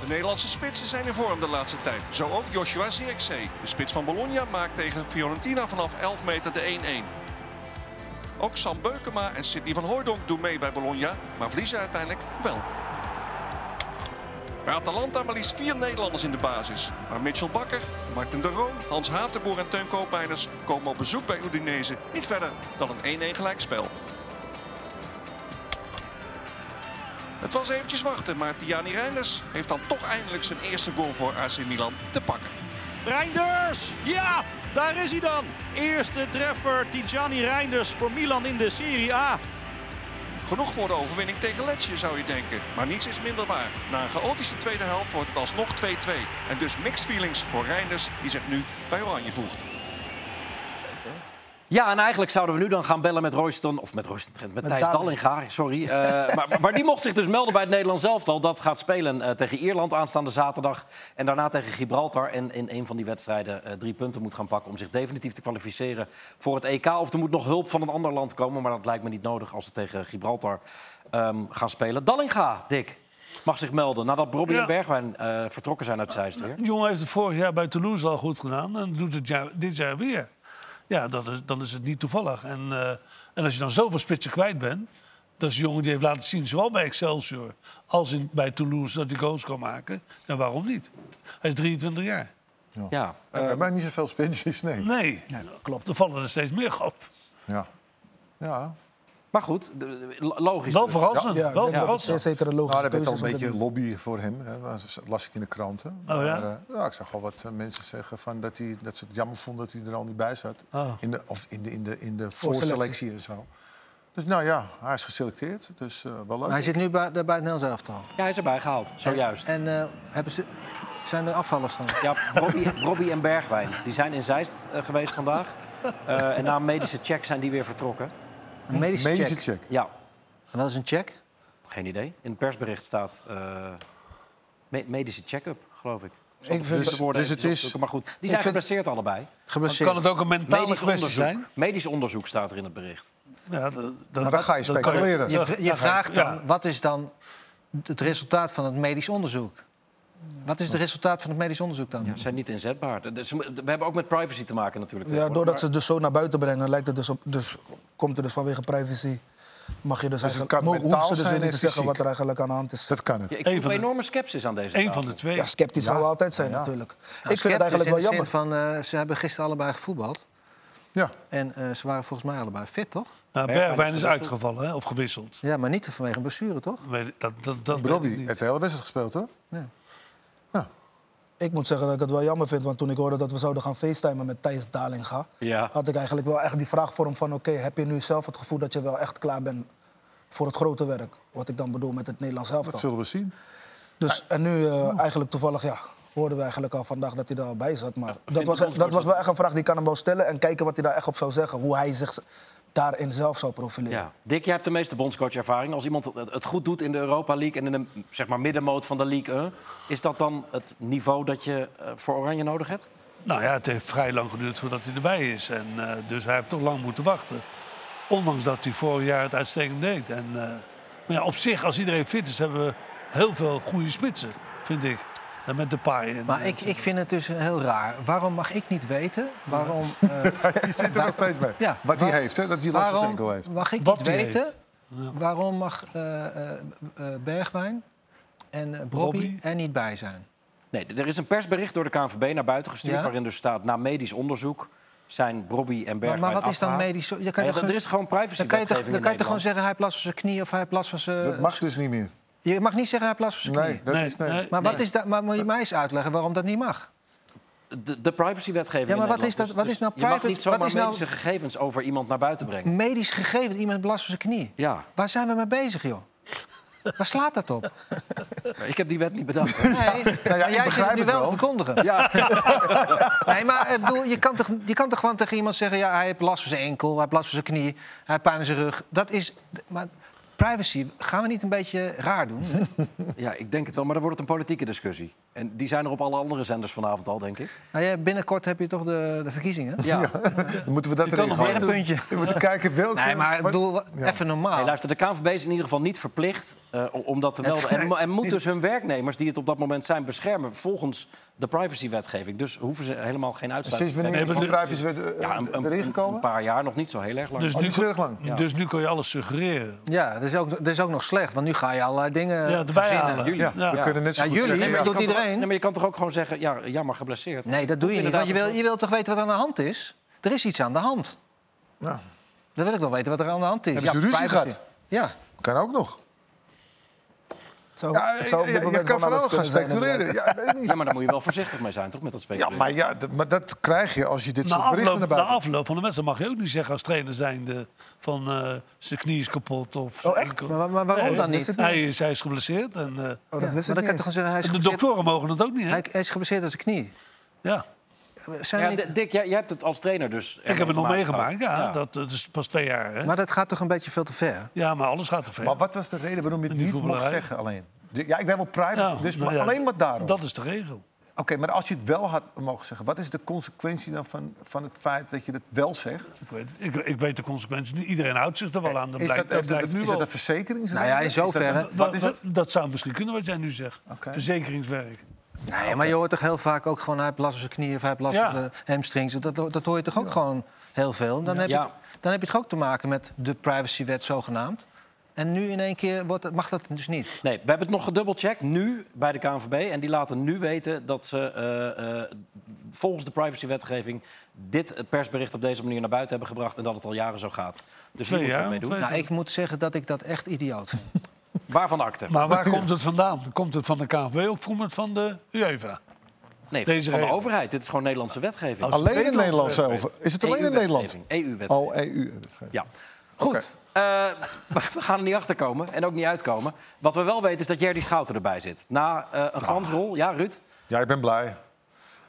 Speaker 6: De Nederlandse spitsen zijn in vorm de laatste tijd. Zo ook Joshua Zirkzee. De spits van Bologna maakt tegen Fiorentina vanaf 11 meter de 1-1. Ook Sam Beukema en Sidney van Hooijdonk doen mee bij Bologna, maar verliezen uiteindelijk wel. Bij Atalanta maar liefst vier Nederlanders in de basis. Maar Mitchell Bakker, Martin de Roon, Hans Hatenboer en Teun Koopmeiners komen op bezoek bij Udinese niet verder dan een 1-1 gelijkspel. Het was eventjes wachten, maar Tiani Reinders heeft dan toch eindelijk zijn eerste goal voor AC Milan te pakken.
Speaker 7: Reinders. Ja, daar is hij dan. Eerste treffer Tijani Reinders voor Milan in de Serie A.
Speaker 6: Genoeg voor de overwinning tegen Lecce zou je denken, maar niets is minder waar. Na een chaotische tweede helft wordt het alsnog 2-2 en dus mixed feelings voor Reinders die zich nu bij Oranje voegt.
Speaker 1: Ja, en eigenlijk zouden we nu dan gaan bellen met Royston... of met Royston Trent, met, Thijs
Speaker 2: Dallinga.
Speaker 1: Dallinga, sorry. Eh, maar, maar- maar die mocht zich dus melden bij het Nederlands elftal. Dat gaat spelen eh, tegen Ierland aanstaande zaterdag. En daarna tegen Gibraltar. En in een van die wedstrijden eh, drie punten moet gaan pakken... om zich definitief te kwalificeren voor het EK. Of er moet nog hulp van een ander land komen. Maar dat lijkt me niet nodig als ze tegen Gibraltar ehm, gaan spelen. Dallinga, Dick, mag zich melden. Nadat Robbie
Speaker 5: Ja.
Speaker 1: en Bergwijn eh, vertrokken zijn uit Zeist weer.
Speaker 5: De jongen heeft het vorig jaar bij Toulouse al goed gedaan en doet het jaar- dit jaar weer. Ja, dat is, dan is het niet toevallig. En, eh, en als je dan zoveel spitsen kwijt bent, dat is een jongen die heeft laten zien, zowel bij Excelsior als in, bij Toulouse, dat hij goals kan maken. En waarom niet? Hij is 23 jaar.
Speaker 1: Ja, eh,
Speaker 3: We hebben Eh, niet zoveel spintjes, nee.
Speaker 5: Nee, klopt. Er vallen er steeds meer op.
Speaker 3: Ja. Ja,
Speaker 1: maar goed, de- de- logisch.
Speaker 5: Wel
Speaker 1: dus.
Speaker 5: verrassend.
Speaker 2: Ja, ik
Speaker 5: wel
Speaker 2: denk dat het
Speaker 5: verrassend.
Speaker 2: zeer zeker een
Speaker 3: Nou,
Speaker 2: logische
Speaker 3: er werd
Speaker 2: keuze
Speaker 3: al
Speaker 2: is
Speaker 3: een
Speaker 2: om te
Speaker 3: beetje
Speaker 2: doen.
Speaker 3: lobby voor hem. Hè. Dat las ik in de kranten.
Speaker 5: Oh, ja?
Speaker 3: eh, ja, ik zag al wat eh, mensen zeggen van dat, hij, dat ze het jammer vonden dat hij er al niet bij zat.
Speaker 5: Oh.
Speaker 3: In de, of in de, in de, in de
Speaker 2: Voorselectie.
Speaker 3: voorselectie en zo. Dus nou ja, hij is geselecteerd. Dus eh, wel leuk.
Speaker 4: Maar hij zit nu bij, bij het Nederlands elftal.
Speaker 1: Ja, hij is erbij gehaald, zojuist.
Speaker 4: En eh, hebben ze, zijn er afvallers dan?
Speaker 1: Ja, Robbie, Robbie en Bergwijn. Die zijn in Zeist eh, geweest vandaag. Eh, en na een medische check zijn die weer vertrokken.
Speaker 4: Een medische,
Speaker 3: Medische
Speaker 4: check.
Speaker 3: check.
Speaker 1: Ja,
Speaker 4: En Wat is een check?
Speaker 1: geen idee. In het persbericht staat eh, me- medische check-up, geloof ik.
Speaker 2: Ik vind-
Speaker 1: Dus, de woorden
Speaker 3: dus het
Speaker 1: even
Speaker 3: is-
Speaker 1: opzoeken, Maar goed, die zijn
Speaker 2: vind-
Speaker 1: geblesseerd allebei.
Speaker 4: Geblesseerd.
Speaker 5: Kan het ook een mentale
Speaker 1: Medisch
Speaker 5: kwestie
Speaker 1: onderzoek.
Speaker 5: zijn?
Speaker 1: medisch onderzoek staat er in het bericht.
Speaker 2: Nou,
Speaker 5: Ja, dat, dat-
Speaker 3: Maar dan ga je
Speaker 5: dat kan-
Speaker 3: speculeren.
Speaker 4: Je, je vraagt dan,
Speaker 5: Ja.
Speaker 4: wat is dan het resultaat van het medisch onderzoek. Wat is het resultaat van het medisch onderzoek dan?
Speaker 1: Ze zijn niet inzetbaar. De- de- ze- We hebben ook met privacy te maken natuurlijk.
Speaker 2: Ja,
Speaker 1: tegenwoordig.
Speaker 2: doordat ze het dus zo naar buiten brengen, lijkt het dus op, dus komt er dus vanwege privacy. Mag je dus, eigenlijk
Speaker 3: kan
Speaker 2: mogen- hoeven
Speaker 3: mentaal
Speaker 2: ze dus
Speaker 3: zijn
Speaker 2: weer niet
Speaker 3: en
Speaker 2: te zeggen wat
Speaker 3: fysiek.
Speaker 2: er eigenlijk aan de hand is.
Speaker 3: Dat kan het.
Speaker 1: Ja, ik
Speaker 5: Eén
Speaker 1: proef
Speaker 5: van de-
Speaker 1: enorme scepsis aan deze
Speaker 5: Eén
Speaker 1: tafel.
Speaker 5: van de twee.
Speaker 2: Ja, sceptisch gaan we altijd zijn
Speaker 3: Nou,
Speaker 2: natuurlijk. ik vind het eigenlijk wel
Speaker 4: in de
Speaker 2: jammer.
Speaker 4: zin van, eh, ze hebben gisteren allebei gevoetbald.
Speaker 3: Ja.
Speaker 4: En eh, ze waren volgens mij allebei fit, toch?
Speaker 5: Nou,
Speaker 1: Bergwijn
Speaker 5: Bergwijn
Speaker 1: is
Speaker 5: is
Speaker 1: gewisseld.
Speaker 5: uitgevallen hè, of gewisseld.
Speaker 4: Ja, maar niet vanwege een blessure, toch?
Speaker 5: Weet ik- Dat, dat, dat weet ik
Speaker 3: Robbie
Speaker 5: niet.
Speaker 3: heeft de hele wedstrijd gespeeld, hoor.
Speaker 2: Ik moet zeggen dat ik het wel jammer vind, want toen ik hoorde dat we zouden gaan facetimen met Thijs Dalinga,
Speaker 1: Ja.
Speaker 2: had ik eigenlijk wel echt die vraag voor hem van oké, heb je nu zelf het gevoel dat je wel echt klaar bent voor het grote werk? Wat ik dan bedoel met het Nederlands
Speaker 3: Dat
Speaker 2: elftal.
Speaker 3: zullen we zien.
Speaker 2: Dus, en nu eh, eigenlijk toevallig, ja, hoorden we eigenlijk al vandaag dat hij daar al bij zat. Maar dat,
Speaker 1: vindt
Speaker 2: was, e-
Speaker 1: het ons
Speaker 2: dat
Speaker 1: wat-
Speaker 2: was wel echt een vraag die ik kan hem wel stellen en kijken wat hij daar echt op zou zeggen. Hoe hij zich daarin zelf zou profileren.
Speaker 1: Ja. Dick, jij hebt de meeste bondscoach-ervaring. Als iemand het het goed doet in de Europa League en in de zeg maar, middenmoot van de League 1... is dat dan het niveau dat je eh, voor Oranje nodig hebt?
Speaker 5: Nou ja, het heeft vrij lang geduurd voordat hij erbij is. En, eh, dus hij heeft toch lang moeten wachten. Ondanks dat hij vorig jaar het uitstekend deed. En, eh, maar ja, op zich, als iedereen fit is, hebben we heel veel goede spitsen, vind ik. En met de paai. En,
Speaker 4: Maar
Speaker 5: eh,
Speaker 4: ik, ik vind het dus heel raar. Waarom mag ik niet weten waarom... eh,
Speaker 3: Je zit er nog steeds mee.
Speaker 4: Ja.
Speaker 3: Wat hij
Speaker 4: Waar-
Speaker 3: heeft, hè? Dat hij last van
Speaker 4: waarom
Speaker 3: enkel heeft.
Speaker 4: mag ik
Speaker 5: Wat
Speaker 4: niet
Speaker 5: hij
Speaker 4: weten
Speaker 5: heeft.
Speaker 4: waarom mag eh, eh, eh, Bergwijn en eh, Bobby
Speaker 5: Robbie.
Speaker 4: er niet bij zijn?
Speaker 1: Nee, d- er is een persbericht door de KNVB naar buiten gestuurd...
Speaker 4: Ja?
Speaker 1: waarin dus staat, na medisch onderzoek zijn Robbie en
Speaker 4: Maar,
Speaker 1: Bergwijn
Speaker 4: maar wat is dan
Speaker 1: afgehaald.
Speaker 4: medisch? Je kan
Speaker 1: Nou ja,
Speaker 4: toch
Speaker 1: dat- er is gewoon
Speaker 4: dan kan je toch,
Speaker 1: privacywetgeving in
Speaker 4: dan kan je toch
Speaker 1: Nederland.
Speaker 4: gewoon zeggen hij heeft last van zijn knie of hij heeft last van zijn...
Speaker 3: Dat mag dus niet meer.
Speaker 4: Je mag niet zeggen hij heeft last van zijn knie.
Speaker 3: Nee, dat
Speaker 5: Nee,
Speaker 3: is... Nee.
Speaker 5: nee.
Speaker 4: Maar, wat is dat, maar moet je mij eens uitleggen waarom dat niet mag?
Speaker 1: De, de privacywetgeving
Speaker 4: Ja, maar
Speaker 1: in
Speaker 4: wat
Speaker 1: Nederland.
Speaker 4: is dat-
Speaker 1: Dus-
Speaker 4: wat
Speaker 1: dus
Speaker 4: is nou
Speaker 1: Je mag
Speaker 4: private-
Speaker 1: niet zomaar
Speaker 4: wat is nou-
Speaker 1: medische gegevens over iemand naar buiten brengen.
Speaker 4: Medisch gegeven dat iemand last van zijn knie.
Speaker 1: Ja,
Speaker 4: Waar zijn we mee bezig, joh? Waar slaat dat op?
Speaker 1: ik heb die wet niet bedacht. hoor.
Speaker 4: Nee, maar jij zit
Speaker 3: begrijp
Speaker 4: het nu
Speaker 3: het
Speaker 4: wel
Speaker 3: wel.
Speaker 4: te verkondigen.
Speaker 1: Ja,
Speaker 4: Nee, maar eh, bedoel, je, kan toch, je kan toch gewoon tegen iemand zeggen... Ja, hij heeft last van zijn enkel, hij heeft last van zijn knie, hij heeft pijn in zijn rug. Dat is... Maar privacy, gaan we niet een beetje raar doen? hè?
Speaker 1: ja, ik denk het wel, maar dan wordt het een politieke discussie. En die zijn er op alle andere zenders vanavond al, denk ik.
Speaker 4: Nou, ja, binnenkort heb je toch de, de verkiezingen?
Speaker 1: Ja.
Speaker 3: Dan moeten we dat erin
Speaker 4: Weer een
Speaker 3: gooien.
Speaker 4: puntje.
Speaker 3: We moeten kijken welke...
Speaker 4: Nee, maar ik
Speaker 3: wat-
Speaker 4: bedoel, even normaal.
Speaker 1: Nee, luister, de KNVB is in ieder geval niet verplicht eh, om- om dat te melden. En, mo- en moet dus hun werknemers, die het op dat moment zijn, beschermen... volgens de privacywetgeving. Dus hoeven ze helemaal geen
Speaker 3: Sinds
Speaker 1: uitsluiting
Speaker 3: wanneer
Speaker 5: Nee,
Speaker 3: is
Speaker 5: maar
Speaker 3: Van
Speaker 5: de-
Speaker 3: Cruijff is weer eh,
Speaker 1: Ja, een, een-
Speaker 3: erin
Speaker 1: een- een
Speaker 3: gekomen?
Speaker 1: paar jaar, nog niet zo heel erg lang.
Speaker 5: dus,
Speaker 3: Oh,
Speaker 5: nu,
Speaker 3: niet zo erg lang.
Speaker 1: Ja.
Speaker 5: dus nu kan je alles suggereren.
Speaker 4: Ja, dat is, ook, dat is ook nog slecht, want nu ga je allerlei dingen
Speaker 5: Ja, erbij
Speaker 4: verzinnen.
Speaker 5: halen.
Speaker 1: jullie.
Speaker 5: Ja,
Speaker 3: We
Speaker 1: Ja.
Speaker 3: kunnen net zo
Speaker 4: Eh, Ja,
Speaker 3: goed
Speaker 4: jullie,
Speaker 3: zeggen,
Speaker 4: maar
Speaker 3: ja,
Speaker 4: doet
Speaker 1: Je kan toch ook-
Speaker 4: iedereen.
Speaker 1: Nee, maar je kan toch ook gewoon zeggen, ja, jammer, geblesseerd.
Speaker 4: Nee, dat doe je
Speaker 1: vind
Speaker 4: niet,
Speaker 1: het
Speaker 4: want je wil, je wil toch weten wat er aan de hand is? Er is iets aan de hand.
Speaker 3: Ja.
Speaker 4: Dan wil ik wel weten wat er aan de hand is.
Speaker 3: Hebben ze ruzie
Speaker 4: privacy.
Speaker 3: gehad? Oh,
Speaker 4: Ja,
Speaker 3: kan ook nog.
Speaker 2: Het zou,
Speaker 3: Ja,
Speaker 2: het zou op
Speaker 3: je-
Speaker 2: dit
Speaker 3: je,
Speaker 2: moment
Speaker 3: kan
Speaker 2: van
Speaker 3: van
Speaker 2: alles
Speaker 3: alles gaan
Speaker 2: kunnen zijn,
Speaker 3: speculeren.
Speaker 2: inderdaad.
Speaker 3: Ja, weet ik niet.
Speaker 1: Ja, maar daar moet je wel voorzichtig mee zijn, toch, met dat
Speaker 3: Ja,
Speaker 1: speculeren?
Speaker 3: maar, ja, dat, maar dat krijg je als je dit
Speaker 5: Na
Speaker 3: soort berichten
Speaker 5: afloop,
Speaker 3: naar
Speaker 5: na
Speaker 3: buiten...
Speaker 5: afloop van de wedstrijd mag je ook niet zeggen als trainer zijnde... van eh, zijn knie is kapot of
Speaker 4: echt?
Speaker 5: enkel.
Speaker 4: Maar- maar waarom dan niet?
Speaker 5: Hij is, hij is geblesseerd en
Speaker 2: Oh, dat
Speaker 5: eh,
Speaker 4: Ja,
Speaker 2: wist
Speaker 4: maar
Speaker 2: ik
Speaker 4: dan
Speaker 2: niet
Speaker 4: kan je toch
Speaker 2: eens.
Speaker 4: zeggen, hij is
Speaker 5: de
Speaker 4: geblesseerd,
Speaker 5: doktoren mogen het ook niet, hè?
Speaker 4: hij, hij is geblesseerd aan zijn knie.
Speaker 5: Ja.
Speaker 4: Zijn
Speaker 1: Ja,
Speaker 4: we niet-
Speaker 1: D- Dick, jij, jij hebt het als trainer dus.
Speaker 5: Ik heb het nog meegemaakt, ja.
Speaker 1: Dat...
Speaker 5: Dat, dat is pas twee jaar,
Speaker 3: Eh,
Speaker 5: hè?
Speaker 4: Maar dat gaat toch een beetje veel te ver?
Speaker 3: Nou,
Speaker 5: Ja, maar alles gaat te ver.
Speaker 3: Maar wat was de reden waarom je het
Speaker 5: Die
Speaker 3: niet mocht
Speaker 5: voetballerij.
Speaker 3: zeggen alleen? De- Ja, ik ben wel private,
Speaker 5: Ja,
Speaker 3: dus
Speaker 5: nou
Speaker 3: maar
Speaker 5: ja,
Speaker 3: alleen maar daarom.
Speaker 5: Dat is de regel.
Speaker 3: Oké, maar als je het wel had mogen zeggen... wat is de consequentie dan van, van het feit dat je het wel zegt?
Speaker 5: Ik weet, ik, ik weet de consequenties niet. Iedereen houdt zich er wel aan. Dat
Speaker 3: Eh, Is dat,
Speaker 5: blijkt, dat
Speaker 3: is dat,
Speaker 5: blijkt nu
Speaker 3: is dat
Speaker 5: wel.
Speaker 3: een verzekering?
Speaker 4: Nou ja, in zoverre.
Speaker 3: Wat is
Speaker 5: Wa- wa-
Speaker 3: het?
Speaker 5: Dat zou misschien kunnen wat jij nu zegt.
Speaker 3: Oké.
Speaker 5: Verzekeringswerk.
Speaker 4: Nee, maar je hoort toch heel vaak ook gewoon... hij heeft last van zijn knieën of hij heeft last
Speaker 5: Ja.
Speaker 4: van zijn hamstrings. Dat, dat hoor je toch ook gewoon heel veel? Dan heb, je
Speaker 1: Ja.
Speaker 4: het- dan heb je toch ook te maken met de privacywet zogenaamd? En nu in één keer wordt, het- mag dat dus niet.
Speaker 1: Nee, we hebben het nog gedubbelcheckt nu bij de KNVB. En die laten nu weten dat ze eh, eh, volgens de privacywetgeving... dit persbericht op deze manier naar buiten hebben gebracht... en dat het al jaren zo gaat. Dus
Speaker 5: Twee
Speaker 1: hier moeten we
Speaker 5: jaar,
Speaker 1: mee doen.
Speaker 5: twee-
Speaker 4: Nou, ik moet zeggen dat ik dat echt idioot vind.
Speaker 1: Waarvan de akte?
Speaker 5: Maar waar komt het vandaan? Komt het van de KNVB of komt het van de UEFA?
Speaker 1: Nee,
Speaker 5: Deze
Speaker 1: van de
Speaker 5: regel.
Speaker 1: overheid. Dit is gewoon Nederlandse wetgeving.
Speaker 3: Alleen in Nederland zelf.
Speaker 5: wetgeving.
Speaker 3: Is het
Speaker 1: E
Speaker 3: alleen in Nederland?
Speaker 1: EU-wetgeving.
Speaker 3: Oh, EU.
Speaker 1: Ja. Goed, eh, we gaan er niet achter komen en ook niet uitkomen. Wat we wel weten is dat Jerdy Schouten erbij zit. Na eh,
Speaker 5: Ah.
Speaker 1: een glansrol, ja, Ruud?
Speaker 3: Ja, ik ben blij.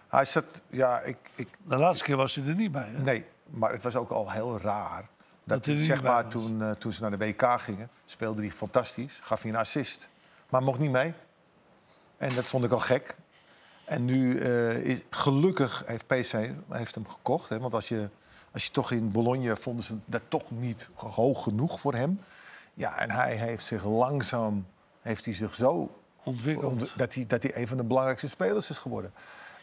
Speaker 3: Hij zat... Ja, ik, ik,
Speaker 5: De laatste keer was hij er niet bij. Hè?
Speaker 3: Nee, maar het was ook al heel raar. Dat,
Speaker 5: hij er niet
Speaker 3: zeg
Speaker 5: bij
Speaker 3: maar,
Speaker 5: was.
Speaker 3: toen, eh, toen ze naar de WK gingen, speelde hij fantastisch. Gaf hij een assist. Maar mocht niet mee. En dat vond ik al gek. En nu, eh, is, gelukkig heeft PC heeft hem gekocht. Hè, want als je, als je toch in Bologna vonden ze dat toch niet hoog genoeg voor hem. Ja, en hij heeft zich langzaam heeft hij zich zo
Speaker 5: Ontwikkeld.
Speaker 3: ont- dat hij, dat hij een van de belangrijkste spelers is geworden.